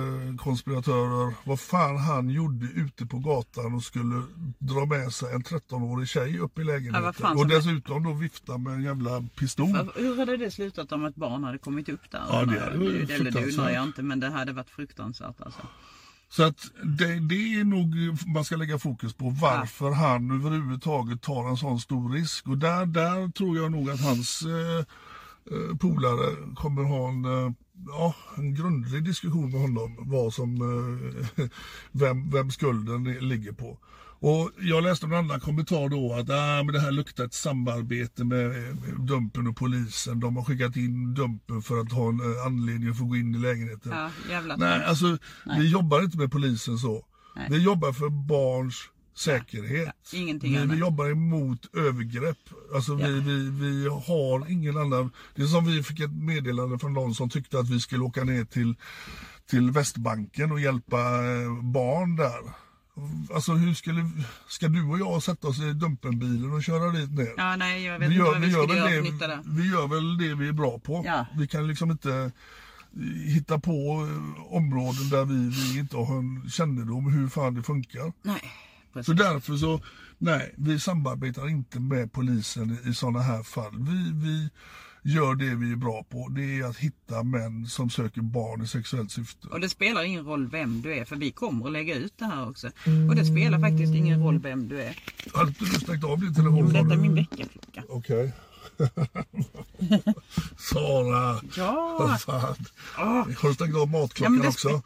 [SPEAKER 4] medkonspiratörer vad fan han gjorde ute på gatan och skulle dra med sig en 13-årig tjej upp i
[SPEAKER 3] Ja, vad
[SPEAKER 4] lägenheten.
[SPEAKER 3] fan som
[SPEAKER 4] och
[SPEAKER 3] är-
[SPEAKER 4] dessutom då vifta med en jävla pistol.
[SPEAKER 3] Hur hade det slutat om ett barn hade kommit upp där?
[SPEAKER 4] Mm. Ja, det hade varit
[SPEAKER 3] Eller det undrar
[SPEAKER 4] fruktansvärt.
[SPEAKER 3] jag inte men det hade varit fruktansvärt alltså.
[SPEAKER 4] Så att det, det är nog man ska lägga fokus på varför han överhuvudtaget tar en sån stor risk. Och där, där tror jag nog att hans eh, eh, polare kommer ha en, eh, ja, en grundlig diskussion med honom. Vad som, eh, vem, vem skulden ligger på. Och Jag läste en annan kommentar då att ah, men det här luktar ett samarbete med eh, Dumpen och polisen. De har skickat in Dumpen för att ha en eh, anledning att få gå in i lägenheten.
[SPEAKER 3] Ja, jävla
[SPEAKER 4] Nej, alltså vi jobbar inte med polisen så. Vi jobbar för barns säkerhet.
[SPEAKER 3] Ja, ingenting
[SPEAKER 4] vi,
[SPEAKER 3] annat.
[SPEAKER 4] vi jobbar emot övergrepp. Alltså vi, vi, vi har ingen annan. Det är som vi fick ett meddelande från någon som tyckte att vi skulle åka ner till, till Västbanken och hjälpa eh, barn där. Alltså hur skulle, ska du och jag sätta oss i Dumpenbilen och köra dit ner?
[SPEAKER 3] Ja, nej jag vet
[SPEAKER 4] Vi
[SPEAKER 3] inte
[SPEAKER 4] gör,
[SPEAKER 3] vad
[SPEAKER 4] vi,
[SPEAKER 3] vi
[SPEAKER 4] gör
[SPEAKER 3] skulle
[SPEAKER 4] väl
[SPEAKER 3] göra för
[SPEAKER 4] det,
[SPEAKER 3] nytta där.
[SPEAKER 4] vi gör väl det vi är bra på.
[SPEAKER 3] Ja.
[SPEAKER 4] Vi kan liksom inte hitta på eh, områden där vi, vi inte har en kännedom hur fan det funkar.
[SPEAKER 3] Nej,
[SPEAKER 4] Så
[SPEAKER 3] precis.
[SPEAKER 4] därför så, nej, vi samarbetar inte med polisen i, i sådana här fall. Vi, vi gör det vi är bra på. Det är att hitta män som söker barn i sexuellt syfte.
[SPEAKER 3] Och det spelar ingen roll vem du är för vi kommer att lägga ut det här också.
[SPEAKER 4] Mm.
[SPEAKER 3] Och det spelar faktiskt ingen roll vem du är.
[SPEAKER 4] Hade inte du stängt av din
[SPEAKER 3] Och
[SPEAKER 4] telefon? sa
[SPEAKER 3] detta är
[SPEAKER 4] du?
[SPEAKER 3] min väckarklocka.
[SPEAKER 4] Okej. Sara,
[SPEAKER 3] Ja!
[SPEAKER 4] vad fan.
[SPEAKER 3] Åh.
[SPEAKER 4] Har du stängt av
[SPEAKER 3] Ja,
[SPEAKER 4] matklockan
[SPEAKER 3] men det
[SPEAKER 4] också?
[SPEAKER 3] spe-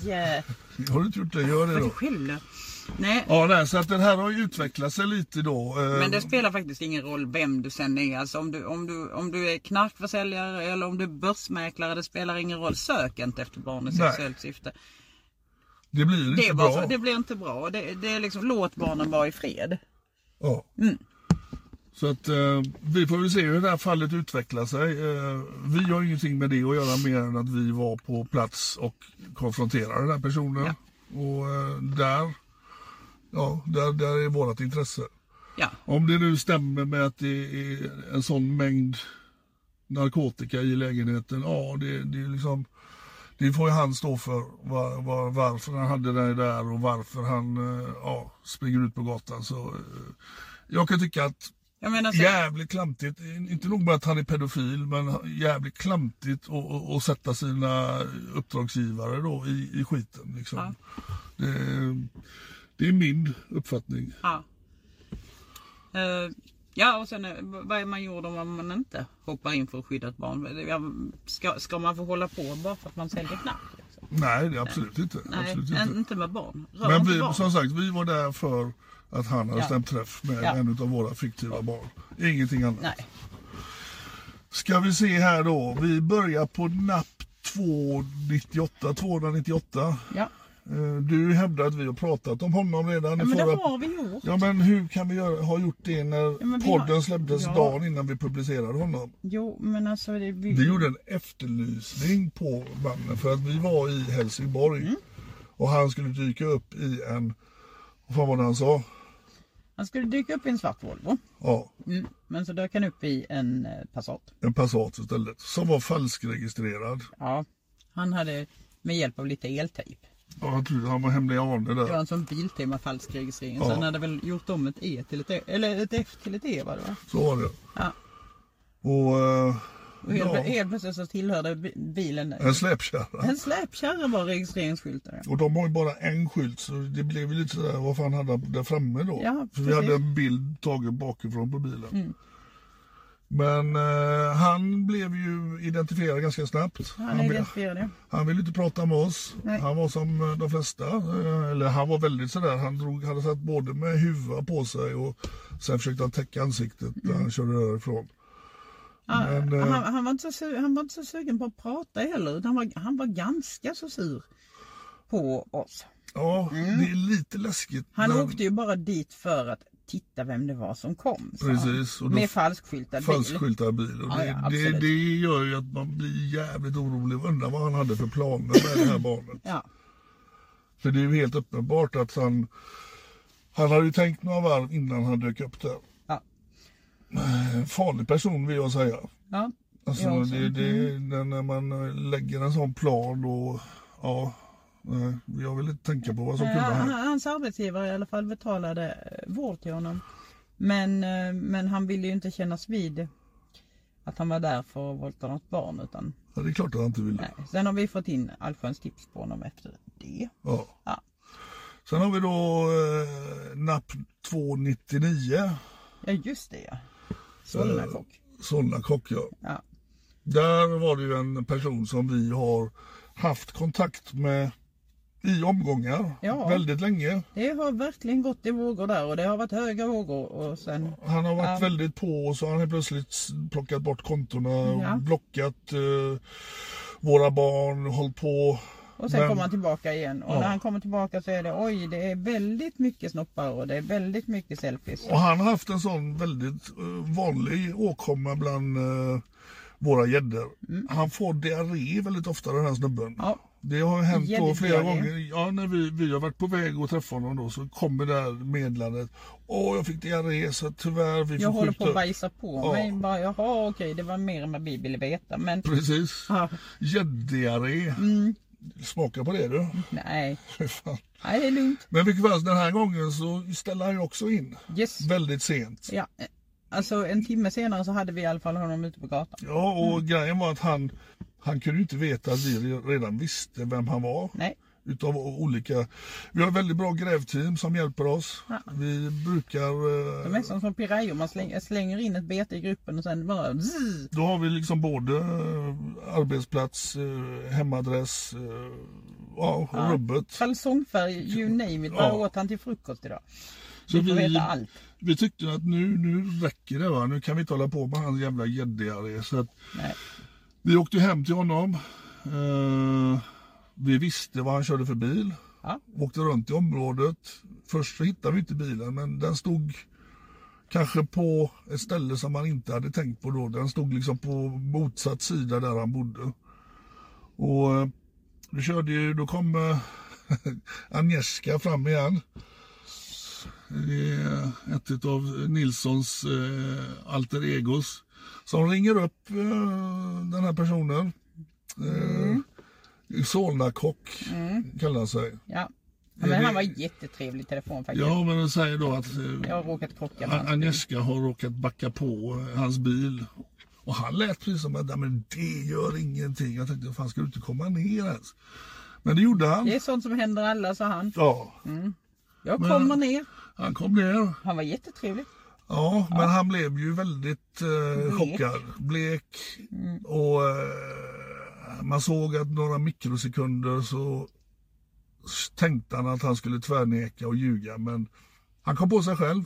[SPEAKER 3] Nej!
[SPEAKER 4] Har du inte gjort det, gör det
[SPEAKER 3] Vad du
[SPEAKER 4] då.
[SPEAKER 3] skäller. Nej,
[SPEAKER 4] Ja, nej, så att den här har ju utvecklat sig lite då. eh,
[SPEAKER 3] Men det spelar faktiskt ingen roll vem du sen är. Alltså om, du, om, du, om du är knarkförsäljare eller om du är börsmäklare, det spelar ingen roll. Sök inte efter barn i
[SPEAKER 4] Nej.
[SPEAKER 3] sexuellt syfte.
[SPEAKER 4] det blir inte
[SPEAKER 3] Det, är bara
[SPEAKER 4] bra.
[SPEAKER 3] så, det blir inte bra. Det, det är liksom, låt barnen vara i fred.
[SPEAKER 4] Ja.
[SPEAKER 3] Mm.
[SPEAKER 4] Så att eh, vi får väl se hur det här fallet utvecklar sig. Eh, vi har ingenting med det att göra mer än att vi var på plats och konfronterade den här personen. Och eh, där, ja, där, där är vårt intresse.
[SPEAKER 3] Ja,
[SPEAKER 4] Om det nu stämmer med att det är en sån mängd narkotika i lägenheten, ja det, det är liksom det får ju han stå för, var, var, varför han hade det där och varför han eh, ja, springer ut på gatan. Så, eh, jag kan tycka att
[SPEAKER 3] jag menar så,
[SPEAKER 4] jävligt klantigt, inte nog med att han är pedofil, men jävligt klantigt att- att att sätta sina uppdragsgivare då i, i skiten. Liksom.
[SPEAKER 3] Ja.
[SPEAKER 4] Det, det är min uppfattning.
[SPEAKER 3] Ja. Eh, ja, och sen eh, v- vad är man gjord om man inte hoppar in för att skydda ett barn? Ja, Ska, ska man få hålla på bara för att man säljer knark? Liksom?
[SPEAKER 4] Nej, det är absolut inte.
[SPEAKER 3] Nej,
[SPEAKER 4] absolut
[SPEAKER 3] en-
[SPEAKER 4] inte.
[SPEAKER 3] inte med barn. Rör
[SPEAKER 4] Men
[SPEAKER 3] inte
[SPEAKER 4] vi,
[SPEAKER 3] barn.
[SPEAKER 4] som sagt, vi var där för att han hade
[SPEAKER 3] Ja.
[SPEAKER 4] stämt träff med
[SPEAKER 3] Ja.
[SPEAKER 4] en av våra fiktiva barn. Ingenting annat.
[SPEAKER 3] Nej.
[SPEAKER 4] Ska vi se här då. Vi börjar på NAP 298. 298.
[SPEAKER 3] Ja.
[SPEAKER 4] Eh, Du hävdar att vi har pratat om honom redan
[SPEAKER 3] ja,
[SPEAKER 4] i
[SPEAKER 3] men det
[SPEAKER 4] förra...
[SPEAKER 3] har vi gjort.
[SPEAKER 4] Ja men hur kan vi göra, ha gjort det när
[SPEAKER 3] Ja, men vi har-
[SPEAKER 4] podden släpptes
[SPEAKER 3] Ja.
[SPEAKER 4] dagen innan vi publicerade honom?
[SPEAKER 3] Jo, men alltså det... Vi,
[SPEAKER 4] Vi gjorde en efterlysning på mannen för att vi var i Helsingborg
[SPEAKER 3] Mm.
[SPEAKER 4] och han skulle dyka upp i en, vad fan var det han sa?
[SPEAKER 3] Han skulle dyka upp i en svart Volvo. Mm.
[SPEAKER 4] Ja,
[SPEAKER 3] Men så dök han upp i en eh, Passat.
[SPEAKER 4] en Passat istället som var falskregistrerad.
[SPEAKER 3] Ja. Han hade med hjälp av lite eltejp.
[SPEAKER 4] Ja, jag trodde han var hemlig ane
[SPEAKER 3] Det var
[SPEAKER 4] där.
[SPEAKER 3] en sån biltema falskregistrering. Så
[SPEAKER 4] Ja.
[SPEAKER 3] han hade väl gjort om ett E till ett F. Eller ett F till ett E var det va?
[SPEAKER 4] Så var det.
[SPEAKER 3] Ja.
[SPEAKER 4] Och eh,
[SPEAKER 3] Och helt,
[SPEAKER 4] Ja.
[SPEAKER 3] helt plötsligt så tillhörde bi- bilen...
[SPEAKER 4] en släpkärra.
[SPEAKER 3] En släpkärra var registreringsskylten. ja.
[SPEAKER 4] Och de har ju bara en skylt så det blev ju lite sådär, vad fan hade han där framme då?
[SPEAKER 3] Ja,
[SPEAKER 4] För
[SPEAKER 3] precis.
[SPEAKER 4] vi
[SPEAKER 3] Mm.
[SPEAKER 4] hade en bild tagen bakifrån på bilen. Men eh, han blev ju identifierad ganska snabbt.
[SPEAKER 3] Han
[SPEAKER 4] be-
[SPEAKER 3] identifierade det.
[SPEAKER 4] han ville inte prata med oss.
[SPEAKER 3] Nej.
[SPEAKER 4] Han var som eh, de flesta. eh, Eller han var väldigt sådär. Han drog, hade satt både med huva på sig och sen försökte han täcka ansiktet när
[SPEAKER 3] Mm.
[SPEAKER 4] han körde därifrån.
[SPEAKER 3] Han,
[SPEAKER 4] Men, eh,
[SPEAKER 3] han, han, var inte så, su- han var inte så sugen på att prata heller. utan Han var, han var ganska så sur på oss.
[SPEAKER 4] Ja, det är lite läskigt.
[SPEAKER 3] Mm. Han
[SPEAKER 4] när-
[SPEAKER 3] åkte ju bara dit för att titta vem det var som kom. sa han.
[SPEAKER 4] Precis, och då-
[SPEAKER 3] Med falskskyltad bil.
[SPEAKER 4] Falskskyltad bil. Och
[SPEAKER 3] Ja,
[SPEAKER 4] det,
[SPEAKER 3] ja,
[SPEAKER 4] det,
[SPEAKER 3] absolut.
[SPEAKER 4] det gör ju att man blir jävligt orolig. Undrar vad han hade för planer med det här barnet.
[SPEAKER 3] Ja.
[SPEAKER 4] För det är ju helt uppenbart att han... Han hade ju tänkt några varv innan han dök upp där.
[SPEAKER 3] Ja.
[SPEAKER 4] En farlig person vill jag säga.
[SPEAKER 3] Ja. mm.
[SPEAKER 4] Alltså,
[SPEAKER 3] Jag också.
[SPEAKER 4] det, det, när, när man eh, lägger en sån plan och... Ja, nej, jag vill inte tänka på vad som
[SPEAKER 3] Eh,
[SPEAKER 4] kunde
[SPEAKER 3] han-
[SPEAKER 4] hända.
[SPEAKER 3] Hans arbetsgivare i alla fall betalade eh, vård till honom. Men, eh, men han ville ju inte kännas vid att han var där för att våldta något barn. Utan,
[SPEAKER 4] Ja, det är klart att han inte vill.
[SPEAKER 3] nej. Sen har vi fått in allsköns tips på honom efter det.
[SPEAKER 4] Ja.
[SPEAKER 3] Ja.
[SPEAKER 4] Sen har vi då eh, NAP 299.
[SPEAKER 3] Ja just det ja.
[SPEAKER 4] Eh.
[SPEAKER 3] Solnakock.
[SPEAKER 4] Solna kock ja.
[SPEAKER 3] Ja.
[SPEAKER 4] Där var det ju en person som vi har haft kontakt med i omgångar
[SPEAKER 3] Ja.
[SPEAKER 4] väldigt länge.
[SPEAKER 3] Det har verkligen gått i vågor där och det har varit höga vågor och sen
[SPEAKER 4] Han har varit
[SPEAKER 3] Ja.
[SPEAKER 4] väldigt på och så har han helt plötsligt s- plockat bort kontona och
[SPEAKER 3] Ja.
[SPEAKER 4] blockat eh, våra barn och hållit på.
[SPEAKER 3] och sen
[SPEAKER 4] Men-
[SPEAKER 3] kommer han tillbaka igen och
[SPEAKER 4] Ja.
[SPEAKER 3] när han kommer tillbaka så är det oj det är väldigt mycket snoppar och det är väldigt mycket selfies.
[SPEAKER 4] Och han har haft en sån väldigt eh, vanlig åkomma bland eh, våra gäddor. Han får diarré väldigt ofta den här snubben.
[SPEAKER 3] Mm. Ja.
[SPEAKER 4] Det har hänt då
[SPEAKER 3] Gädddiarré.
[SPEAKER 4] flera gånger. Ja, när vi, vi har varit på väg att träffa honom då så kommer det här meddelandet. Åh, jag fick diarré så tyvärr vi
[SPEAKER 3] Jag
[SPEAKER 4] får
[SPEAKER 3] håller på
[SPEAKER 4] skjuta
[SPEAKER 3] att
[SPEAKER 4] upp.
[SPEAKER 3] bajsa på mig bara jaha okej det var mer än vad vi ville veta men
[SPEAKER 4] Precis.
[SPEAKER 3] Ja. Mm.
[SPEAKER 4] Gäddiarré. Smaka på det du.
[SPEAKER 3] nej,
[SPEAKER 4] Fy fan.
[SPEAKER 3] nej det är lugnt.
[SPEAKER 4] Men vilket fall, den här gången så ställer han ju också in.
[SPEAKER 3] Yes.
[SPEAKER 4] Väldigt sent.
[SPEAKER 3] Ja. eh, Alltså en timme senare så hade vi i alla fall honom ute på gatan.
[SPEAKER 4] Ja, och grejen var att han, han kunde ju inte veta att vi redan visste vem han var.
[SPEAKER 3] Nej.
[SPEAKER 4] Utav olika, vi har ett väldigt bra grävteam som hjälper oss.
[SPEAKER 3] Ja.
[SPEAKER 4] Vi brukar... eh,
[SPEAKER 3] De är som små pirayor, man slänger, slänger in ett bete i gruppen och sen bara zzz.
[SPEAKER 4] Då har vi liksom både eh, arbetsplats, eh, hemadress, eh, ja, rubbet.
[SPEAKER 3] Kalsongfärg, you name it. Vad
[SPEAKER 4] Ja.
[SPEAKER 3] åt han till frukost idag?
[SPEAKER 4] Så
[SPEAKER 3] vi får veta allt.
[SPEAKER 4] vi tyckte att nu, nu räcker det va, nu kan vi inte hålla på med hans jävla gäddiga Så att
[SPEAKER 3] Nej.
[SPEAKER 4] vi åkte hem till honom. Eh, vi visste vad han körde för bil.
[SPEAKER 3] Ja.
[SPEAKER 4] Åkte runt i området. Först så hittade vi inte bilen men den stod kanske på ett ställe som man inte hade tänkt på då. Den stod liksom på motsatt sida där han bodde. Och eh, vi körde ju, då kom eh, Agnieszka fram igen. Det är ett av Nilssons eh, alter egos. Som ringer upp eh, den här personen. Eh, Solnakock kallar han sig.
[SPEAKER 3] Ja. ja men han var jättetrevlig i telefon faktiskt.
[SPEAKER 4] Ja, men den säger då att
[SPEAKER 3] Jag
[SPEAKER 4] eh,
[SPEAKER 3] har råkat krocka med
[SPEAKER 4] A-
[SPEAKER 3] honom.
[SPEAKER 4] Agnieszka har råkat backa på eh, hans bil. Och han lät precis som att "Nej, men det gör ingenting. Jag tänkte, fan ska du inte komma ner ens? Men det gjorde han.
[SPEAKER 3] Det är sånt som händer alla, sa han.
[SPEAKER 4] Ja,
[SPEAKER 3] Jag kommer ner.
[SPEAKER 4] han kom ner.
[SPEAKER 3] Han var jättetrevlig.
[SPEAKER 4] Ja, men han blev ju väldigt eh, chockad. Blek. Och eh, man såg att några mikrosekunder så s- tänkte han att han skulle tvärneka och ljuga. Men han kom på sig själv.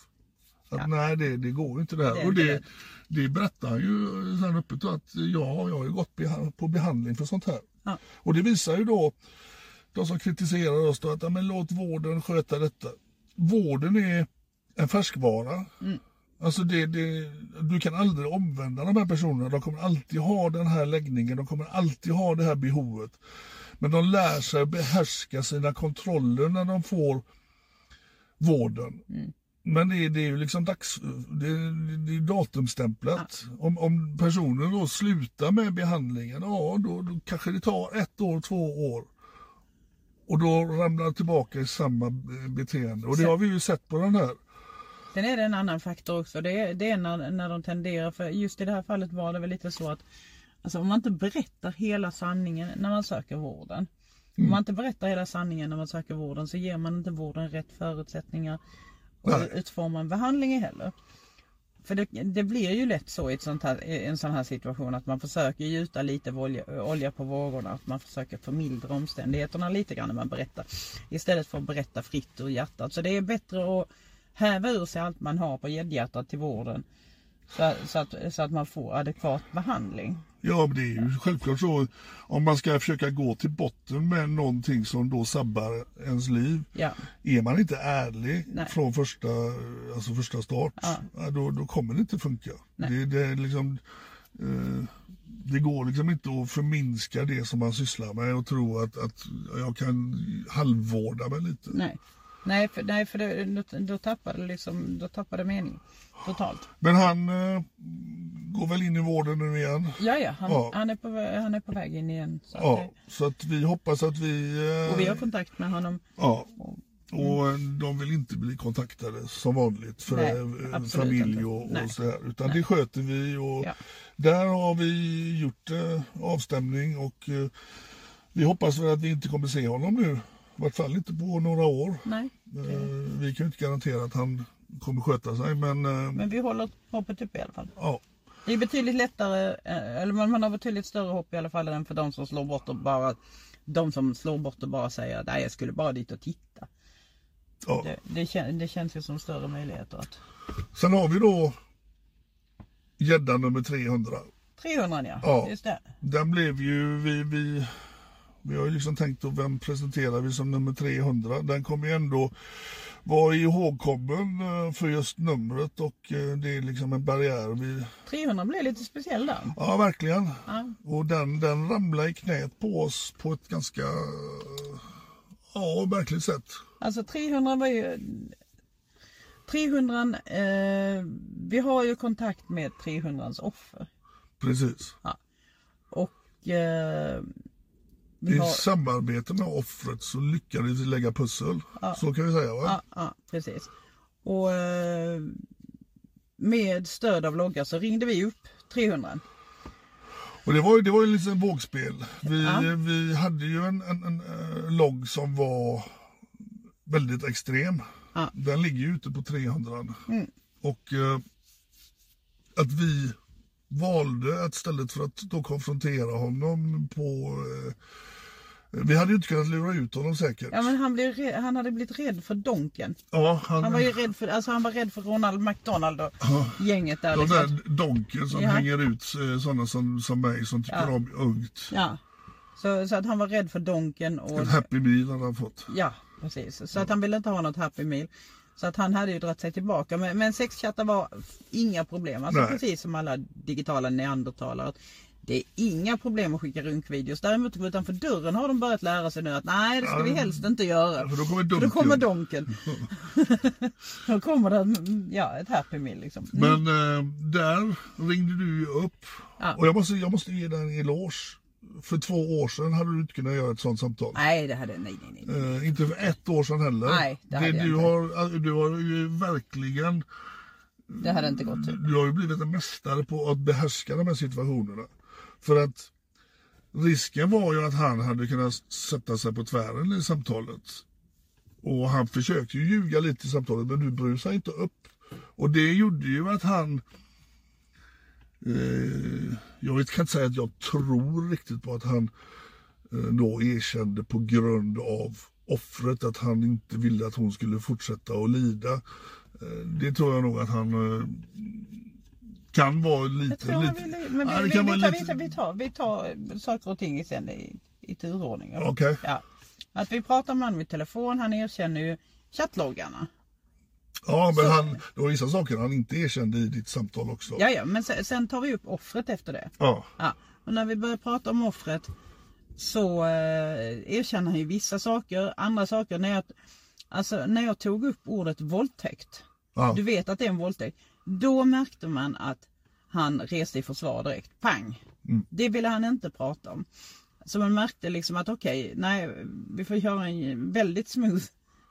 [SPEAKER 4] Att nej, det, det går ju inte det här.
[SPEAKER 3] Det är
[SPEAKER 4] och
[SPEAKER 3] inte
[SPEAKER 4] det,
[SPEAKER 3] rätt.
[SPEAKER 4] det berättar han ju sen öppet då att ja, jag har ju gått beha- på behandling för sånt här.
[SPEAKER 3] Ja.
[SPEAKER 4] Och det visar ju då de som kritiserar oss då att ja, men låt vården sköta detta. Vården är en färskvara.
[SPEAKER 3] Mm.
[SPEAKER 4] Alltså det, det, du kan aldrig omvända de här personerna. De kommer alltid ha den här läggningen, de kommer alltid ha det här behovet. Men de lär sig behärska sina kontroller när de får vården. Men det, det är ju liksom dags, det, det är datumstämplat. Om, om personen då slutar med behandlingen, ja då, då kanske det tar ett år, två år. Och då ramlar tillbaka i samma eh, beteende. Och det har vi ju sett på den här.
[SPEAKER 3] Sen är det en annan faktor också. Det är, det är när, när de tenderar, för just i det här fallet var det väl lite så att alltså, om man inte berättar hela sanningen när man söker vården. Om man inte berättar hela sanningen när man söker vården så ger man inte vården rätt förutsättningar och
[SPEAKER 4] Nej.
[SPEAKER 3] utformar en behandling heller. För det, det blir ju lätt så i ett sånt här, i en sån här situation att man försöker gjuta lite olja, olja på vågorna. Att man försöker förmildra omständigheterna lite grann när man berättar. Istället för att berätta fritt ur hjärtat. Så det är bättre att häva ur sig allt man har på gäddhjärtat till vården. Så, så, att, så att man får adekvat behandling.
[SPEAKER 4] Ja, men det är ju självklart så. Om man ska försöka gå till botten med någonting som då sabbar ens liv.
[SPEAKER 3] Ja.
[SPEAKER 4] Är man inte ärlig
[SPEAKER 3] Nej.
[SPEAKER 4] från första, alltså första start, ja, då, då kommer det inte funka. Det, det, är liksom, eh, det går liksom inte att förminska det som man sysslar med och tro att, att jag kan halvvårda mig lite.
[SPEAKER 3] Nej, nej för, nej, för det, då, då tappar det liksom, då tappar det mening totalt.
[SPEAKER 4] Men han eh, går väl in i vården nu igen.
[SPEAKER 3] Ja, ja, han,
[SPEAKER 4] Ja.
[SPEAKER 3] Han, är på, vä- han är på väg in igen. Så att
[SPEAKER 4] Ja, så att vi hoppas att vi...
[SPEAKER 3] det,
[SPEAKER 4] eh,
[SPEAKER 3] och vi har kontakt med honom.
[SPEAKER 4] Ja.
[SPEAKER 3] Mm.
[SPEAKER 4] Och eh, de vill inte bli kontaktade som vanligt för
[SPEAKER 3] Nej,
[SPEAKER 4] eh,
[SPEAKER 3] absolut inte.
[SPEAKER 4] familj och,
[SPEAKER 3] Nej.
[SPEAKER 4] och sådär. Utan det sköter vi och
[SPEAKER 3] Ja.
[SPEAKER 4] där har vi gjort eh, avstämning och eh, vi hoppas väl att vi inte kommer se honom nu. I vart fall inte på några år.
[SPEAKER 3] Nej,
[SPEAKER 4] Eh, vi kan ju inte garantera att han kommer sköta sig men, eh,
[SPEAKER 3] men vi håller hoppet uppe i alla fall.
[SPEAKER 4] ja.
[SPEAKER 3] Det är betydligt lättare, eh, eller man, man har betydligt större hopp i alla fall än för de som slår bort och bara de som slår bort och bara säger nej jag skulle bara dit och titta.
[SPEAKER 4] ja.
[SPEAKER 3] Det, det, kän, det känns ju som större möjligheter att...
[SPEAKER 4] Sen har vi då gädda nummer 300.
[SPEAKER 3] 300 ja,
[SPEAKER 4] Ja.
[SPEAKER 3] just det.
[SPEAKER 4] Den blev ju, vi, vi, vi har ju liksom tänkt då, vem presenterar vi som nummer 300? Den kommer ju ändå vara ihågkommen eh, för just numret och eh, det är liksom en barriär. Vi,
[SPEAKER 3] 300 blev lite speciell där.
[SPEAKER 4] ja, verkligen.
[SPEAKER 3] Ja.
[SPEAKER 4] Och den, den ramlade i knät på oss på ett ganska, eh, ja, märkligt sätt.
[SPEAKER 3] Alltså 300 var ju... 300, eh, vi har ju kontakt med 300s offer.
[SPEAKER 4] Precis.
[SPEAKER 3] Och eh, vi
[SPEAKER 4] I
[SPEAKER 3] har...
[SPEAKER 4] samarbete med offret så lyckades vi lägga pussel. Så kan vi säga va?
[SPEAKER 3] Ja, ja, precis. Och eh, med stöd av loggar så ringde vi upp 300.
[SPEAKER 4] Och det var ju, det var ju lite liksom vågspel. Vi, vi hade ju en, en, en eh, logg som var väldigt extrem.
[SPEAKER 3] Ja. Mm.
[SPEAKER 4] Den ligger ju ute på 300. Och eh, att vi valde att istället för att då konfrontera honom på... Eh, vi hade ju inte kunnat lura ut honom säkert.
[SPEAKER 3] Ja men han, blev rädd, han hade blivit rädd för Donken.
[SPEAKER 4] Ja, han,
[SPEAKER 3] Han var ju rädd för, alltså han var rädd för Ronald McDonald och gänget där.
[SPEAKER 4] de
[SPEAKER 3] liksom.
[SPEAKER 4] där donken som
[SPEAKER 3] Ja.
[SPEAKER 4] hänger ut eh, sådana som, som mig som tycker
[SPEAKER 3] Ja.
[SPEAKER 4] om ungt.
[SPEAKER 3] Ja. Så, så att han var rädd för Donken och...
[SPEAKER 4] Ett happy meal hade han fått.
[SPEAKER 3] Ja, precis.
[SPEAKER 4] Mm.
[SPEAKER 3] Så att han ville inte ha något happy meal. Så att han hade ju dragit sig tillbaka. Men, men sexchattar var f- inga problem. Alltså
[SPEAKER 4] Nej.
[SPEAKER 3] precis som alla digitala neandertalare. att Det är inga problem att skicka runkvideos. Däremot utanför dörren har de börjat lära sig nu att nej det ska vi helst inte göra.
[SPEAKER 4] för då kommer
[SPEAKER 3] För då
[SPEAKER 4] donken.
[SPEAKER 3] kommer donken. då kommer det mm, ja, ett happy meal liksom.
[SPEAKER 4] Men eh, där ringde du ju upp.
[SPEAKER 3] Ja.
[SPEAKER 4] Och jag måste, jag måste ge dig en eloge. För två år sedan hade du inte kunnat göra ett sånt samtal.
[SPEAKER 3] Nej det hade, nej nej nej.
[SPEAKER 4] Eh, inte för ett år sedan heller.
[SPEAKER 3] Nej, det hade jag
[SPEAKER 4] du,
[SPEAKER 3] inte.
[SPEAKER 4] har, alltså, du har ju verkligen
[SPEAKER 3] Det hade inte gått.
[SPEAKER 4] du har ju blivit en mästare på att behärska de här situationerna. För att risken var ju att han hade kunnat sätta sig på tvären i samtalet. Och han försökte ju ljuga lite i samtalet men du brydde sig inte upp. Och det gjorde ju att han... Eh, jag vet, kan inte säga att jag tror riktigt på att han eh, då erkände på grund av offret att han inte ville att hon skulle fortsätta att lida. Eh, Det tror jag nog att han eh, kan vara lite...
[SPEAKER 3] Jag tror han
[SPEAKER 4] lite-
[SPEAKER 3] ville, men vi,
[SPEAKER 4] Ja, det
[SPEAKER 3] vi,
[SPEAKER 4] kan
[SPEAKER 3] vi,
[SPEAKER 4] vara
[SPEAKER 3] tar, vi,
[SPEAKER 4] lite-
[SPEAKER 3] tar, vi, tar, vi tar eh, saker och ting i sen i, i turordning. ja.
[SPEAKER 4] Okej.
[SPEAKER 3] Ja. Att vi pratar med honom i telefon, han erkänner ju chattloggarna.
[SPEAKER 4] Ja, men han, det var vissa saker han inte erkände i ditt samtal också.
[SPEAKER 3] Ja, ja, men sen, sen tar vi upp offret efter det.
[SPEAKER 4] Ja.
[SPEAKER 3] Ja. Och när vi börjar prata om offret så eh, erkänner han ju vissa saker. Andra saker, när jag, alltså, när jag tog upp ordet våldtäkt,
[SPEAKER 4] Ja.
[SPEAKER 3] du vet att det är en våldtäkt, då märkte man att han reste i försvar direkt. Pang! Det ville han inte prata om. Så man märkte liksom att okej, nej, vi får göra en väldigt smooth,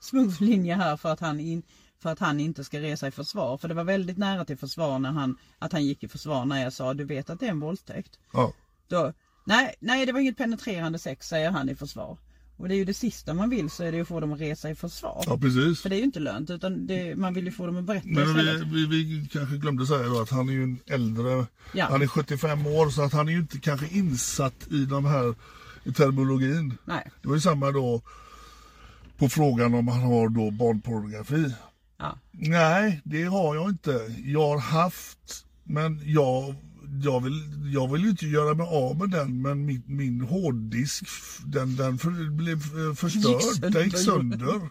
[SPEAKER 3] smooth linje här för att, han in, för att han inte ska resa i försvar. För det var väldigt nära till försvar när han, att han gick i försvar när jag sa du vet att det är en våldtäkt.
[SPEAKER 4] ja.
[SPEAKER 3] Då, nej, nej, det var inget penetrerande sex säger han i försvar. Och det är ju det sista man vill så är det ju att få dem att resa i försvar.
[SPEAKER 4] Ja, precis.
[SPEAKER 3] För det är ju inte lönt utan det, man vill ju få dem att berätta
[SPEAKER 4] Men vi,
[SPEAKER 3] istället.
[SPEAKER 4] vi, vi kanske glömde säga då att han är ju en äldre,
[SPEAKER 3] Ja.
[SPEAKER 4] han är 75 år så att han är ju inte kanske insatt i de här i terminologin.
[SPEAKER 3] Nej,
[SPEAKER 4] Det var ju samma då på frågan om han har då barnpornografi.
[SPEAKER 3] ja,
[SPEAKER 4] Nej, det har jag inte. Jag har haft Men jag, jag, vill, jag vill inte göra mig av med den men min, min hårddisk f- den, den för, blev eh, förstörd.
[SPEAKER 3] sönder.
[SPEAKER 4] den gick sönder.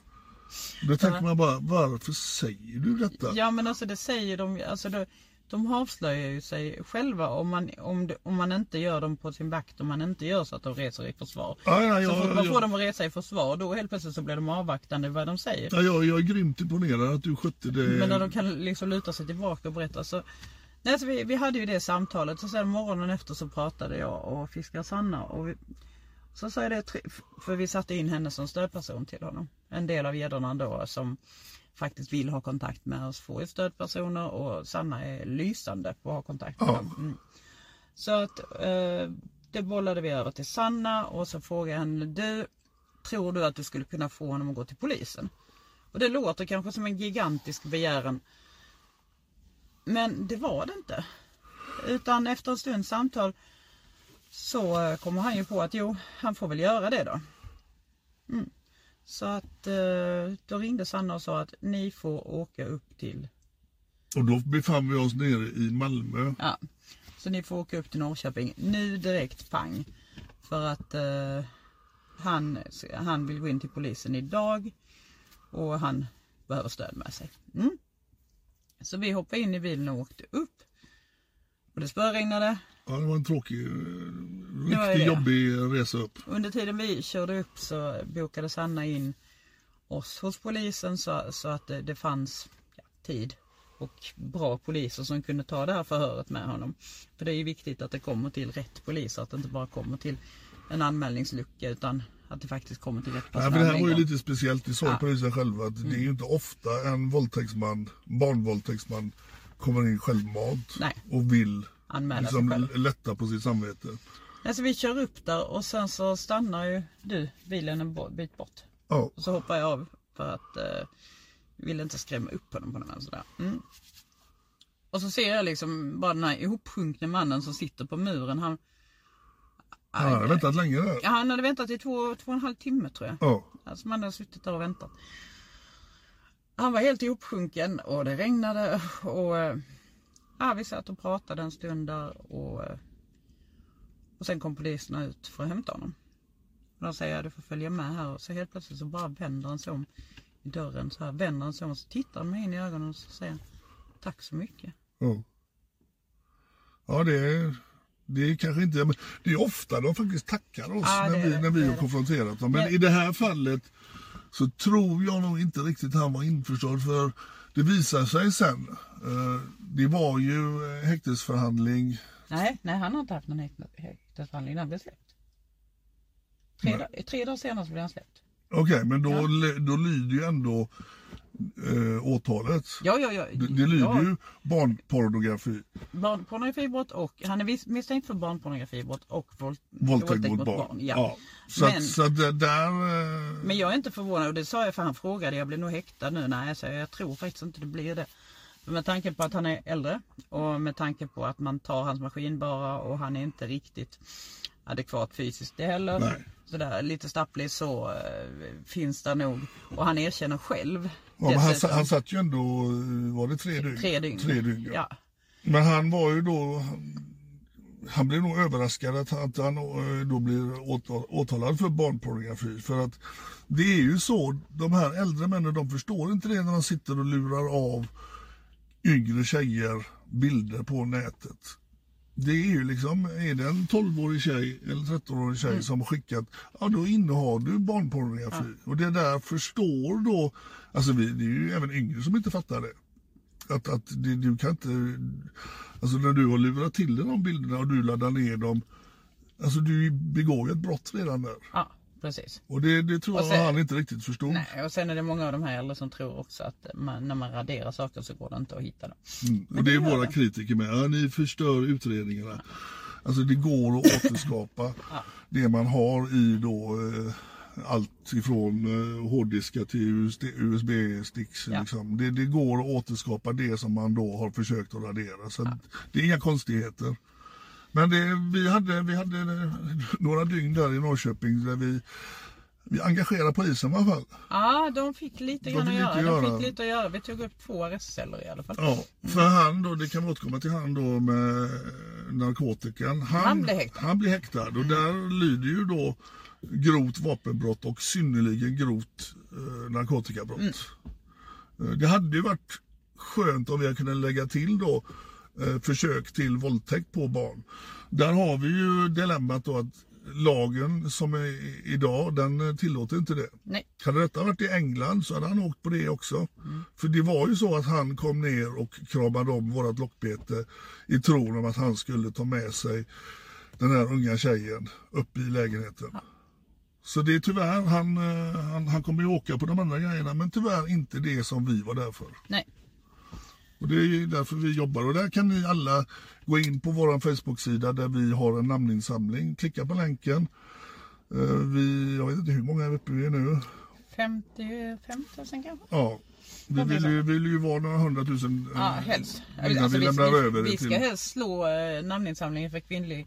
[SPEAKER 4] Då tänker man bara varför säger du detta?
[SPEAKER 3] Ja men alltså det säger de ju, alltså de, de avslöjar ju sig själva om man, om, det- om man inte gör dem på sin vakt, om man inte gör så att de reser i försvar.
[SPEAKER 4] Ja, ja,
[SPEAKER 3] så
[SPEAKER 4] ja,
[SPEAKER 3] fort man
[SPEAKER 4] ja.
[SPEAKER 3] får dem att resa i försvar då helt plötsligt så blir de avvaktande vad de säger.
[SPEAKER 4] Ja, jag, jag är grymt imponerad att du skötte det.
[SPEAKER 3] Men när de kan liksom luta sig tillbaka och berätta så Nej, så vi, vi hade ju det samtalet och sen morgonen efter så pratade jag och fiskar Sanna och vi, så sa jag det, tre- för vi satte in henne som stödperson till honom. En del av gäddorna då som faktiskt vill ha kontakt med oss får ju stödpersoner och Sanna är lysande på att ha kontakt med
[SPEAKER 4] Ja.
[SPEAKER 3] dem. Mm. Så att eh, det bollade vi över till Sanna och så frågade jag henne, du tror du att du skulle kunna få honom att gå till polisen? Och det låter kanske som en gigantisk begäran. Men det var det inte. Utan efter en stunds samtal så eh, kommer han ju på att jo, han får väl göra det då. Mm. Så att eh, då ringde Sanna och sa att ni får åka upp till
[SPEAKER 4] Och då befann vi oss nere i Malmö.
[SPEAKER 3] Ja. Så ni får åka upp till Norrköping nu direkt pang. För att eh, han, han vill gå in till polisen idag och han behöver stöd med sig. Mm. Så vi hoppade in i bilen och åkte upp. Och det spöregnade.
[SPEAKER 4] Ja, det var en tråkig, eh,
[SPEAKER 3] var
[SPEAKER 4] riktigt
[SPEAKER 3] det.
[SPEAKER 4] jobbig resa upp.
[SPEAKER 3] Under tiden vi körde upp så bokade Sanna in oss hos polisen så, så att det, det fanns ja, tid och bra poliser som kunde ta det här förhöret med honom. För det är ju viktigt att det kommer till rätt poliser, att det inte bara kommer till en anmälningslucka utan att det faktiskt kommer till rätt
[SPEAKER 4] Nej,
[SPEAKER 3] person.
[SPEAKER 4] men det här
[SPEAKER 3] med
[SPEAKER 4] var ju
[SPEAKER 3] en gång.
[SPEAKER 4] lite speciellt, det sa ju
[SPEAKER 3] Ja. Mm.
[SPEAKER 4] polisen själva att det är ju inte ofta en våldtäktsman, barnvåldtäktsman kommer in självmant
[SPEAKER 3] Nej.
[SPEAKER 4] och vill
[SPEAKER 3] Anmäla sig
[SPEAKER 4] liksom,
[SPEAKER 3] själv.
[SPEAKER 4] lätta på sitt samvete.
[SPEAKER 3] Alltså, vi kör upp där och sen så stannar ju du bilen en bo- bit bort.
[SPEAKER 4] Ja.
[SPEAKER 3] Och så hoppar jag av för att eh, jag vill inte skrämma upp honom på något sätt. sådär. Mm. Och så ser jag liksom bara den här ihopsjunkne mannen som sitter på muren. Han,
[SPEAKER 4] Han har väntat länge där. Ja.
[SPEAKER 3] han hade väntat i två, två och en halv timme tror jag.
[SPEAKER 4] Ja.
[SPEAKER 3] Alltså man hade suttit där och väntat. Han var helt ihopsjunken och det regnade och eh, ja, vi satt och pratade en stund där och, eh, och sen kom poliserna ut för att hämta honom. Och de säger du får följa med här och så helt plötsligt så bara vänder han sig om i dörren så här, vänder han sig om och så tittar han mig in i ögonen och så säger han, tack så mycket.
[SPEAKER 4] Ja. det är... Det är kanske inte, men det är ofta de faktiskt tackar oss
[SPEAKER 3] Ja, det
[SPEAKER 4] när
[SPEAKER 3] är
[SPEAKER 4] vi,
[SPEAKER 3] det,
[SPEAKER 4] när vi
[SPEAKER 3] det är
[SPEAKER 4] har
[SPEAKER 3] det.
[SPEAKER 4] konfronterat dem. Men
[SPEAKER 3] Men-
[SPEAKER 4] i det här fallet så tror jag nog inte riktigt han var införstådd för det visar sig sen. Eh, det var ju eh, häktesförhandling
[SPEAKER 3] Nej, nej han har inte haft någon häkt- häktesförhandling, han blev släppt. Tre, dag, tre dagar senare så blev han släppt.
[SPEAKER 4] Okej, men då, ly- då lyder ju ändå eh, åtalet.
[SPEAKER 3] Ja, ja, ja.
[SPEAKER 4] Det, det lyder
[SPEAKER 3] ja.
[SPEAKER 4] ju barnpornografi.
[SPEAKER 3] barnpornografibrott och han är vis- misstänkt för barnpornografibrott och våld-
[SPEAKER 4] Våldtäkt mot barn.
[SPEAKER 3] ja.
[SPEAKER 4] Så,
[SPEAKER 3] Men-
[SPEAKER 4] att, så att det där... Eh,
[SPEAKER 3] Men jag är inte förvånad och det sa jag för han frågade, jag blir nog häktad nu. Nej, så jag tror faktiskt inte det blir det. Men med tanke på att han är äldre och med tanke på att man tar hans maskinbara och han är inte riktigt adekvat fysiskt det heller.
[SPEAKER 4] Nej.
[SPEAKER 3] Sådär, lite stapplig så eh, finns det nog. Och han erkänner själv.
[SPEAKER 4] ja, men han, sa-
[SPEAKER 3] dessutom.
[SPEAKER 4] han satt ju ändå, eh, var det tre dygn?
[SPEAKER 3] tre dygn.
[SPEAKER 4] Tre dygn ja.
[SPEAKER 3] ja.
[SPEAKER 4] Men han var ju då... han- Han blev nog överraskad att han, att han eh, då blir åtal, åtalad för barnpornografi. För att det är ju så, de här äldre männen de förstår inte det när de sitter och lurar av yngre tjejer bilder på nätet. Det är ju liksom, är det en 12-årig tjej eller 13-årig tjej som har skickat, ja då innehar du barnpornografi. Och det där förstår då, alltså vi, det är ju även yngre som inte fattar det. Att, att det, du kan inte... Alltså när du har lurat till dig de bilderna och du laddar ner dem. Alltså du begår ju ett brott redan där.
[SPEAKER 3] ja, precis.
[SPEAKER 4] Och det, det tror
[SPEAKER 3] Och
[SPEAKER 4] jag
[SPEAKER 3] sen-
[SPEAKER 4] han inte riktigt förstod.
[SPEAKER 3] Nej, och sen är det många av de här äldre som tror också att man, när man raderar saker så går det inte att hitta dem.
[SPEAKER 4] Mm. Och det är våra kritiker med. Ja, ni förstör utredningarna. Alltså det går att återskapa det man har i då eh, allt ifrån eh, hårddiskar till USB-sticks.
[SPEAKER 3] Ja.
[SPEAKER 4] Liksom. Det, det går att återskapa det som man då har försökt att radera. Så att det är inga konstigheter. eh, Men det, vi, hade, vi hade några dygn där i Norrköping där vi vi engagerar polisen i alla fall.
[SPEAKER 3] Ja, de fick lite
[SPEAKER 4] De
[SPEAKER 3] grann att
[SPEAKER 4] fick
[SPEAKER 3] göra.
[SPEAKER 4] lite
[SPEAKER 3] De
[SPEAKER 4] göra.
[SPEAKER 3] fick lite att göra. Vi tog upp två arrestceller i alla fall. Mm.
[SPEAKER 4] Ja, för han då, det kan vi återkomma till han då med eh, narkotikan.
[SPEAKER 3] Han blev häktad.
[SPEAKER 4] Han blev häktad och där lyder ju då grovt vapenbrott och synnerligen grovt eh, narkotikabrott.
[SPEAKER 3] Mm.
[SPEAKER 4] Eh, Det hade ju varit skönt om vi hade kunnat lägga till då eh, försök till våldtäkt på barn. Där har vi ju dilemmat då att lagen som är i- idag den eh, tillåter inte det.
[SPEAKER 3] Nej.
[SPEAKER 4] Hade detta varit i England så hade han åkt på det också. För det var ju så att han kom ner och kramade om vårat lockbete i tron om att han skulle ta med sig den här unga tjejen upp i lägenheten. Så det är tyvärr, han, eh, han, han kommer ju åka på de andra grejerna men tyvärr inte det som vi var där för.
[SPEAKER 3] Nej.
[SPEAKER 4] Och det är ju därför vi jobbar och där kan ni alla gå in på vår Facebook-sida där vi har en namninsamling. Klicka på länken. Eh, Vi, jag vet inte hur många är vi uppe i nu.
[SPEAKER 3] 55 000 kanske?
[SPEAKER 4] Ja, vi vill ju, vill ju vara några hundratusen eh,
[SPEAKER 3] Ja, helst. Alltså,
[SPEAKER 4] innan vi lämnar
[SPEAKER 3] vi,
[SPEAKER 4] över
[SPEAKER 3] vi
[SPEAKER 4] det
[SPEAKER 3] ska
[SPEAKER 4] till...
[SPEAKER 3] helst slå eh, namninsamlingen för kvinnlig,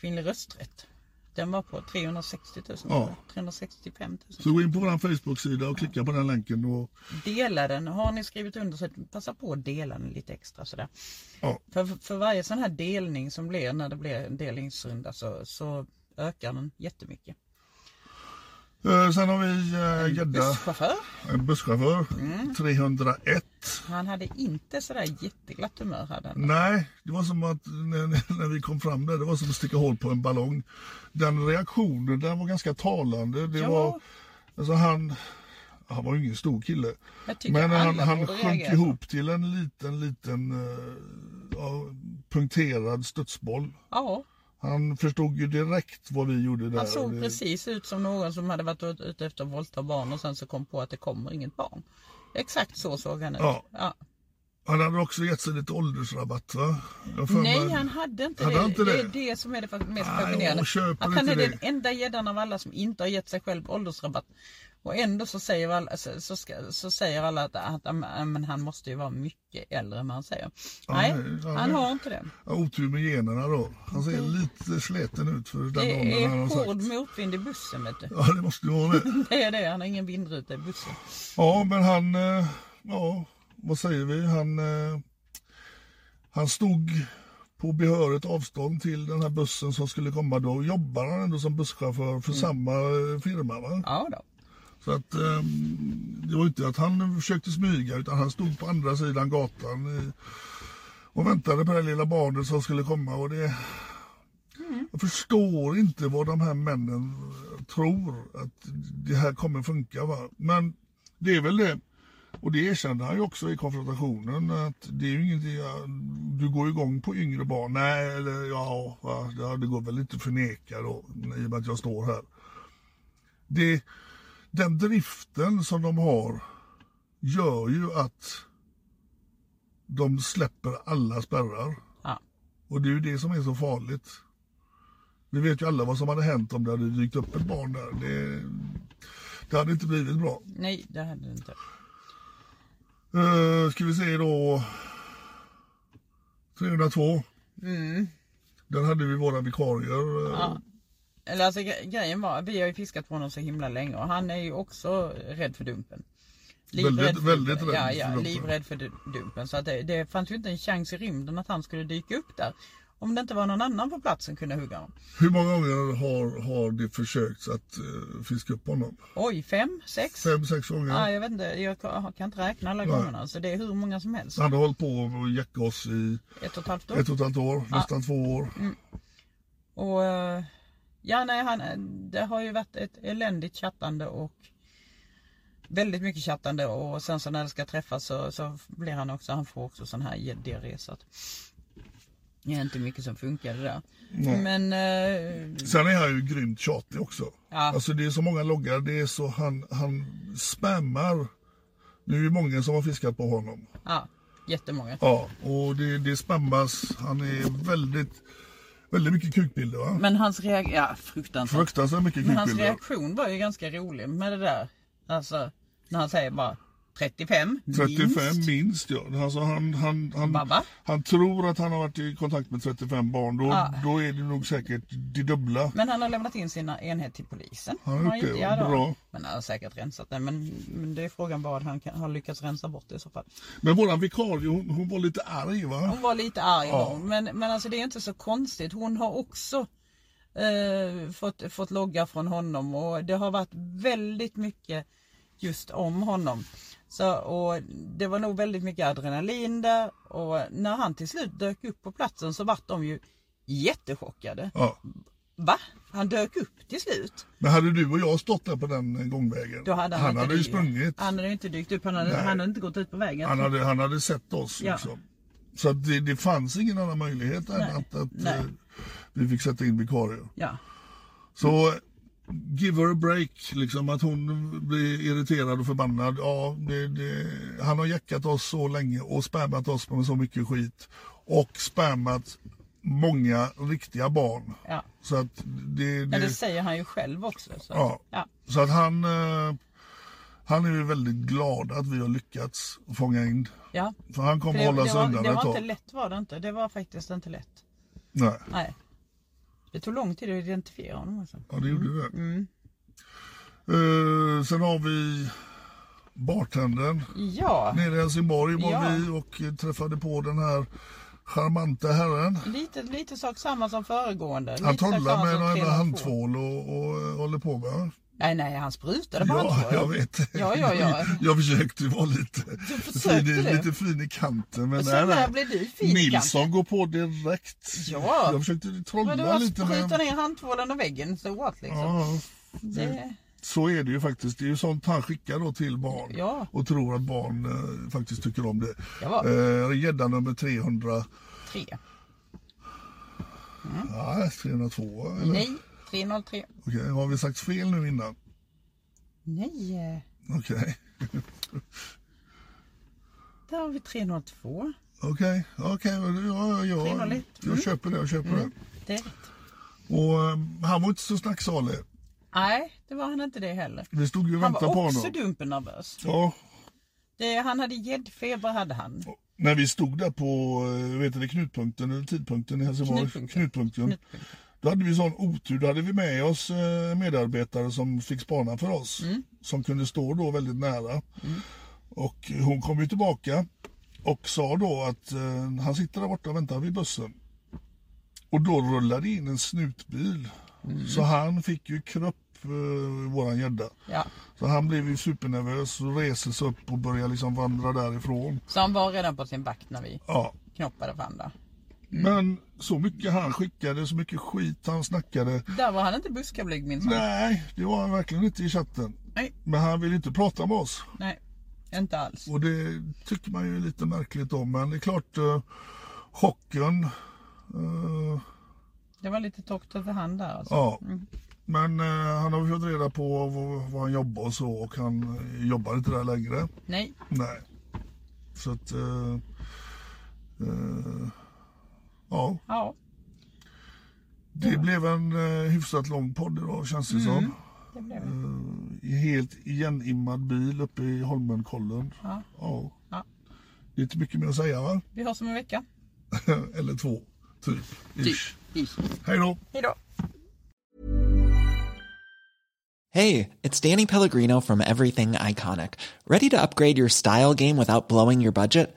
[SPEAKER 3] kvinnlig rösträtt. Den var på 360 000.
[SPEAKER 4] Ja.
[SPEAKER 3] 365 000.
[SPEAKER 4] Så gå in på vår Facebook-sida och klicka på den länken. Och,
[SPEAKER 3] Dela den. Har ni skrivit under så passa på att dela den lite extra sådär.
[SPEAKER 4] ja,
[SPEAKER 3] För, för varje sån här delning som blir när det blir en delningsrunda så, så ökar den jättemycket.
[SPEAKER 4] Eh, Sen har vi eh, gädda,
[SPEAKER 3] Busschaufför, Mm.
[SPEAKER 4] en busschaufför, 301.
[SPEAKER 3] han hade inte sådär jätteglatt humör hade han.
[SPEAKER 4] Nej, det var som att när, när- när vi kom fram där, det var som att sticka hål på en ballong. Den reaktionen, den var ganska talande. Det
[SPEAKER 3] Ja.
[SPEAKER 4] var, alltså han, han var ju ingen stor kille.
[SPEAKER 3] Jag tycker
[SPEAKER 4] Men han,
[SPEAKER 3] alla
[SPEAKER 4] han
[SPEAKER 3] borde
[SPEAKER 4] sjönk
[SPEAKER 3] reagera
[SPEAKER 4] ihop till en liten, liten eh, ja, punkterad studsboll.
[SPEAKER 3] Ja,
[SPEAKER 4] Han förstod ju direkt vad vi gjorde där.
[SPEAKER 3] han såg
[SPEAKER 4] Det-
[SPEAKER 3] precis ut som någon som hade varit ute efter att våldta barn och sen så kom på att det kommer inget barn. Exakt så såg han ut.
[SPEAKER 4] Ja.
[SPEAKER 3] Ja.
[SPEAKER 4] Han hade också gett sig lite åldersrabatt va? Jag har för
[SPEAKER 3] Nej,
[SPEAKER 4] mig-
[SPEAKER 3] han hade inte
[SPEAKER 4] Hade
[SPEAKER 3] det.
[SPEAKER 4] han inte
[SPEAKER 3] det är
[SPEAKER 4] det?
[SPEAKER 3] det som är det mest
[SPEAKER 4] Nej,
[SPEAKER 3] fascinerande.
[SPEAKER 4] jag köper
[SPEAKER 3] Att han är
[SPEAKER 4] inte
[SPEAKER 3] den
[SPEAKER 4] det.
[SPEAKER 3] enda gäddan av alla som inte har gett sig själv åldersrabatt. Och ändå så säger alla, så, så, ska, så säger alla att, att ah, men han måste ju vara mycket äldre än vad han säger. Nej,
[SPEAKER 4] nej, ja,
[SPEAKER 3] han
[SPEAKER 4] nej.
[SPEAKER 3] har inte det.
[SPEAKER 4] Ja, otur med generna då. Han ser lite släten ut för den
[SPEAKER 3] Mm. Det
[SPEAKER 4] åldern han
[SPEAKER 3] är
[SPEAKER 4] har
[SPEAKER 3] hård
[SPEAKER 4] sagt.
[SPEAKER 3] motvind i bussen vet du.
[SPEAKER 4] Ja, det måste ju vara det.
[SPEAKER 3] Det är det, han har ingen vindruta i bussen.
[SPEAKER 4] Ja, men han, eh, ja, vad säger vi? Han, eh, han stod på behörigt avstånd till den här bussen som skulle komma. Då jobbar han ändå som busschaufför
[SPEAKER 3] Mm.
[SPEAKER 4] för samma eh, firma. Va?
[SPEAKER 3] Ja då.
[SPEAKER 4] Så att, eh, det var ju inte att han försökte smyga utan han stod på andra sidan gatan eh, och väntade på det lilla barnet som skulle komma. Och det, Jag förstår inte vad de här männen tror att det här kommer funka. Va? Men det är väl det. Och det erkände han ju också i konfrontationen att det är ju ingenting, ja, du går ju igång på yngre barn. Nej, eller ja, va, ja, det går väl inte att förneka då i och med att jag står här. Det, den driften som de har gör ju att de släpper alla spärrar.
[SPEAKER 3] Ja.
[SPEAKER 4] Och det är ju det som är så farligt. Vi vet ju alla vad som hade hänt om det hade dykt upp ett barn där. Det, det hade inte blivit bra.
[SPEAKER 3] Nej, det hade det inte.
[SPEAKER 4] Uh, ska vi se då. 302.
[SPEAKER 3] Mm.
[SPEAKER 4] Där hade vi våra vikarier. eh,
[SPEAKER 3] Ja. Eller alltså gre- grejen var, vi har ju fiskat på honom så himla länge och han är ju också rädd för dumpen.
[SPEAKER 4] Väldigt-
[SPEAKER 3] för
[SPEAKER 4] väldigt
[SPEAKER 3] dumpen.
[SPEAKER 4] rädd
[SPEAKER 3] ja,
[SPEAKER 4] för
[SPEAKER 3] ja,
[SPEAKER 4] dumpen.
[SPEAKER 3] livrädd för du- dumpen. Så att det, det fanns ju inte en chans i rymden att han skulle dyka upp där. Om det inte var någon annan på plats som kunde hugga honom.
[SPEAKER 4] Hur många gånger har, har det försökt att eh, fiska upp honom?
[SPEAKER 3] Oj, fem, sex?
[SPEAKER 4] Fem, sex gånger.
[SPEAKER 3] Ja, jag vet inte, jag kan kan inte räkna alla gångerna. Så det är hur många som helst.
[SPEAKER 4] Han har hållit på och jackat oss i
[SPEAKER 3] Ett och ett halvt år.
[SPEAKER 4] ett och ett halvt år, nästan två år.
[SPEAKER 3] Mm. Och eh, ja, nej, han, eh, det har ju varit ett eländigt chattande och väldigt mycket chattande och sen så när det ska träffas så, så blir han också, han får också sån här diarré så att det är inte mycket som funkar det där. Men eh,
[SPEAKER 4] Sen är han ju grymt tjatig också.
[SPEAKER 3] Ja.
[SPEAKER 4] Alltså det är så många loggar, det är så han, han spammar. Nu är det många som har fiskat på honom.
[SPEAKER 3] ja, jättemånga.
[SPEAKER 4] Ja, och det, det spammas. Han är väldigt, väldigt mycket kukbilder va?
[SPEAKER 3] Men hans reaktion, ja fruktansvärt.
[SPEAKER 4] Fruktansvärt mycket
[SPEAKER 3] Men hans
[SPEAKER 4] kukbilder.
[SPEAKER 3] reaktion var ju ganska rolig med det där. Alltså när han säger bara 35,
[SPEAKER 4] 35
[SPEAKER 3] minst.
[SPEAKER 4] minst ja. Alltså han, han, han,
[SPEAKER 3] Baba.
[SPEAKER 4] han tror att han har varit i kontakt med 35 barn. Då, då är det nog säkert det dubbla.
[SPEAKER 3] Men han har lämnat in sina enhet till polisen.
[SPEAKER 4] Ja,
[SPEAKER 3] Har han
[SPEAKER 4] okej,
[SPEAKER 3] gjort?
[SPEAKER 4] vad
[SPEAKER 3] då.
[SPEAKER 4] bra.
[SPEAKER 3] Men han har säkert rensat den. Men, men det är frågan vad han kan, har lyckats rensa bort det i så fall.
[SPEAKER 4] Men våran vikarie hon, hon var lite arg va?
[SPEAKER 3] Hon var lite arg var hon, men, men alltså det är inte så konstigt. Hon har också eh, fått, fått logga från honom och det har varit väldigt mycket just om honom. Så, och det var nog väldigt mycket adrenalin där och när han till slut dök upp på platsen så vart de ju jättechockade.
[SPEAKER 4] Ja.
[SPEAKER 3] Va? Han dök upp till slut?
[SPEAKER 4] Men hade du och jag stått där på den gångvägen.
[SPEAKER 3] Då hade han
[SPEAKER 4] han
[SPEAKER 3] inte
[SPEAKER 4] hade ju
[SPEAKER 3] dykt-
[SPEAKER 4] sprungit.
[SPEAKER 3] Han hade ju inte dykt upp, han hade,
[SPEAKER 4] Nej.
[SPEAKER 3] han hade inte gått ut på vägen.
[SPEAKER 4] Han hade, han hade sett oss.
[SPEAKER 3] Ja.
[SPEAKER 4] Liksom. Så att det, det fanns ingen annan möjlighet än att, att
[SPEAKER 3] Nej.
[SPEAKER 4] eh, vi fick sätta in vikarie.
[SPEAKER 3] Ja.
[SPEAKER 4] Så give her a break, liksom att hon blir irriterad och förbannad. Ja, det, det, han har jackat oss så länge och spammat oss med så mycket skit. Och spammat många riktiga barn.
[SPEAKER 3] Ja.
[SPEAKER 4] Så att det,
[SPEAKER 3] ja, det
[SPEAKER 4] det,
[SPEAKER 3] säger han ju själv också. Så.
[SPEAKER 4] Ja.
[SPEAKER 3] Ja.
[SPEAKER 4] så att han, eh, han är ju väldigt glad att vi har lyckats fånga in.
[SPEAKER 3] Ja.
[SPEAKER 4] För han
[SPEAKER 3] För
[SPEAKER 4] kommer
[SPEAKER 3] Det,
[SPEAKER 4] hålla
[SPEAKER 3] det,
[SPEAKER 4] sig
[SPEAKER 3] var,
[SPEAKER 4] undan
[SPEAKER 3] det
[SPEAKER 4] ett
[SPEAKER 3] var inte
[SPEAKER 4] tag.
[SPEAKER 3] lätt var det inte. Det var faktiskt inte lätt.
[SPEAKER 4] Nej.
[SPEAKER 3] Nej. Det tog lång tid att identifiera honom. Alltså.
[SPEAKER 4] Ja, det gjorde det.
[SPEAKER 3] Mm.
[SPEAKER 4] Eh, sen har vi bartendern.
[SPEAKER 3] Ja,
[SPEAKER 4] Nere i Helsingborg var
[SPEAKER 3] Ja.
[SPEAKER 4] vi och eh, träffade på den här charmante herren.
[SPEAKER 3] lite, lite sak samma som föregående.
[SPEAKER 4] Han
[SPEAKER 3] lite sak
[SPEAKER 4] trollar
[SPEAKER 3] samma
[SPEAKER 4] med
[SPEAKER 3] som
[SPEAKER 4] någon jävla
[SPEAKER 3] 302.
[SPEAKER 4] handtvål och, och eh, håller på med.
[SPEAKER 3] Nej, nej, han sprutade på
[SPEAKER 4] Ja,
[SPEAKER 3] handtvål.
[SPEAKER 4] jag vet.
[SPEAKER 3] Ja, ja, ja.
[SPEAKER 4] Jag försökte vara lite,
[SPEAKER 3] försökte
[SPEAKER 4] fin, i-
[SPEAKER 3] det.
[SPEAKER 4] lite fin i kanten. Men
[SPEAKER 3] Så
[SPEAKER 4] nej,
[SPEAKER 3] när
[SPEAKER 4] nej.
[SPEAKER 3] blev du fin i
[SPEAKER 4] Nilsson går på direkt.
[SPEAKER 3] Ja.
[SPEAKER 4] Jag försökte
[SPEAKER 3] Men du
[SPEAKER 4] trolla
[SPEAKER 3] har
[SPEAKER 4] lite.
[SPEAKER 3] sprutat
[SPEAKER 4] Men...
[SPEAKER 3] ner handtvålen och väggen, så what liksom.
[SPEAKER 4] Ja,
[SPEAKER 3] det,
[SPEAKER 4] så är det ju faktiskt. Det är ju sånt han skickar då till barn
[SPEAKER 3] Ja.
[SPEAKER 4] och tror att barn eh, faktiskt tycker om det.
[SPEAKER 3] Ja.
[SPEAKER 4] Eh, Gädda nummer 300.
[SPEAKER 3] tre.
[SPEAKER 4] Nej, 302 Ah, eller?
[SPEAKER 3] Mm. Nej, 303.
[SPEAKER 4] Okej, har vi sagt fel nu innan?
[SPEAKER 3] Nej, eh,
[SPEAKER 4] Okej.
[SPEAKER 3] där har vi 302.
[SPEAKER 4] Okej, okej. men ja, ja, ja.
[SPEAKER 3] 301.
[SPEAKER 4] Jag köper det, jag köper
[SPEAKER 3] Det är rätt.
[SPEAKER 4] det. Och eh, han var inte så snacksalig.
[SPEAKER 3] Nej, det var han inte det heller.
[SPEAKER 4] Vi stod ju och
[SPEAKER 3] Han
[SPEAKER 4] väntade på
[SPEAKER 3] var också
[SPEAKER 4] honom.
[SPEAKER 3] dumpen nervös.
[SPEAKER 4] Ja,
[SPEAKER 3] Det, han hade gäddfeber hade han.
[SPEAKER 4] när vi stod där på eh, vet du, det, knutpunkten eller tidpunkten i Helsingborg.
[SPEAKER 3] Knutpunkten.
[SPEAKER 4] Knutpunkten. Då hade vi sån otur. Då hade vi med oss eh, medarbetare som fick spana för oss. Som kunde stå då väldigt nära. Och hon kom ju tillbaka och sa då att eh, han sitter där borta och väntar vid bussen. Och då rullade in en snutbil. Så han fick ju kropp, eh, våran gädda.
[SPEAKER 3] Ja.
[SPEAKER 4] Så han blev ju supernervös och reser sig upp och börjar liksom vandra därifrån.
[SPEAKER 3] Så han var redan på sin vakt när vi
[SPEAKER 4] Ja.
[SPEAKER 3] knoppade fram där.
[SPEAKER 4] Men så mycket han skickade, så mycket skit han snackade.
[SPEAKER 3] Där var han inte buskablyg minns man.
[SPEAKER 4] Nej, det var han verkligen inte i chatten.
[SPEAKER 3] Nej.
[SPEAKER 4] Men han vill inte prata med oss.
[SPEAKER 3] Nej, inte alls.
[SPEAKER 4] Och det tycker man ju är lite märkligt om. Men det är klart, eh, chocken. eh,
[SPEAKER 3] Det var lite torrt över hand där alltså.
[SPEAKER 4] ja. Men eh, han har fått reda på v- vad han jobbar och så och han eh, jobbar inte där längre.
[SPEAKER 3] Nej,
[SPEAKER 4] Nej. Så att... eh, eh, ja,
[SPEAKER 3] ja,
[SPEAKER 4] det blev en eh, hyfsat lång podd idag känns det som.
[SPEAKER 3] det blev det.
[SPEAKER 4] i helt igenimmad bil uppe i Holmenkollen.
[SPEAKER 3] Ja. Ja.
[SPEAKER 4] Det är inte mycket mer att säga va?
[SPEAKER 3] Vi hörs om en vecka.
[SPEAKER 4] Eller två, typ. Ish.
[SPEAKER 3] Ish.
[SPEAKER 4] Hej då!
[SPEAKER 3] Hej då.
[SPEAKER 5] Hey, it's Danny Pellegrino from Everything Iconic. Ready to upgrade your style game without blowing your budget?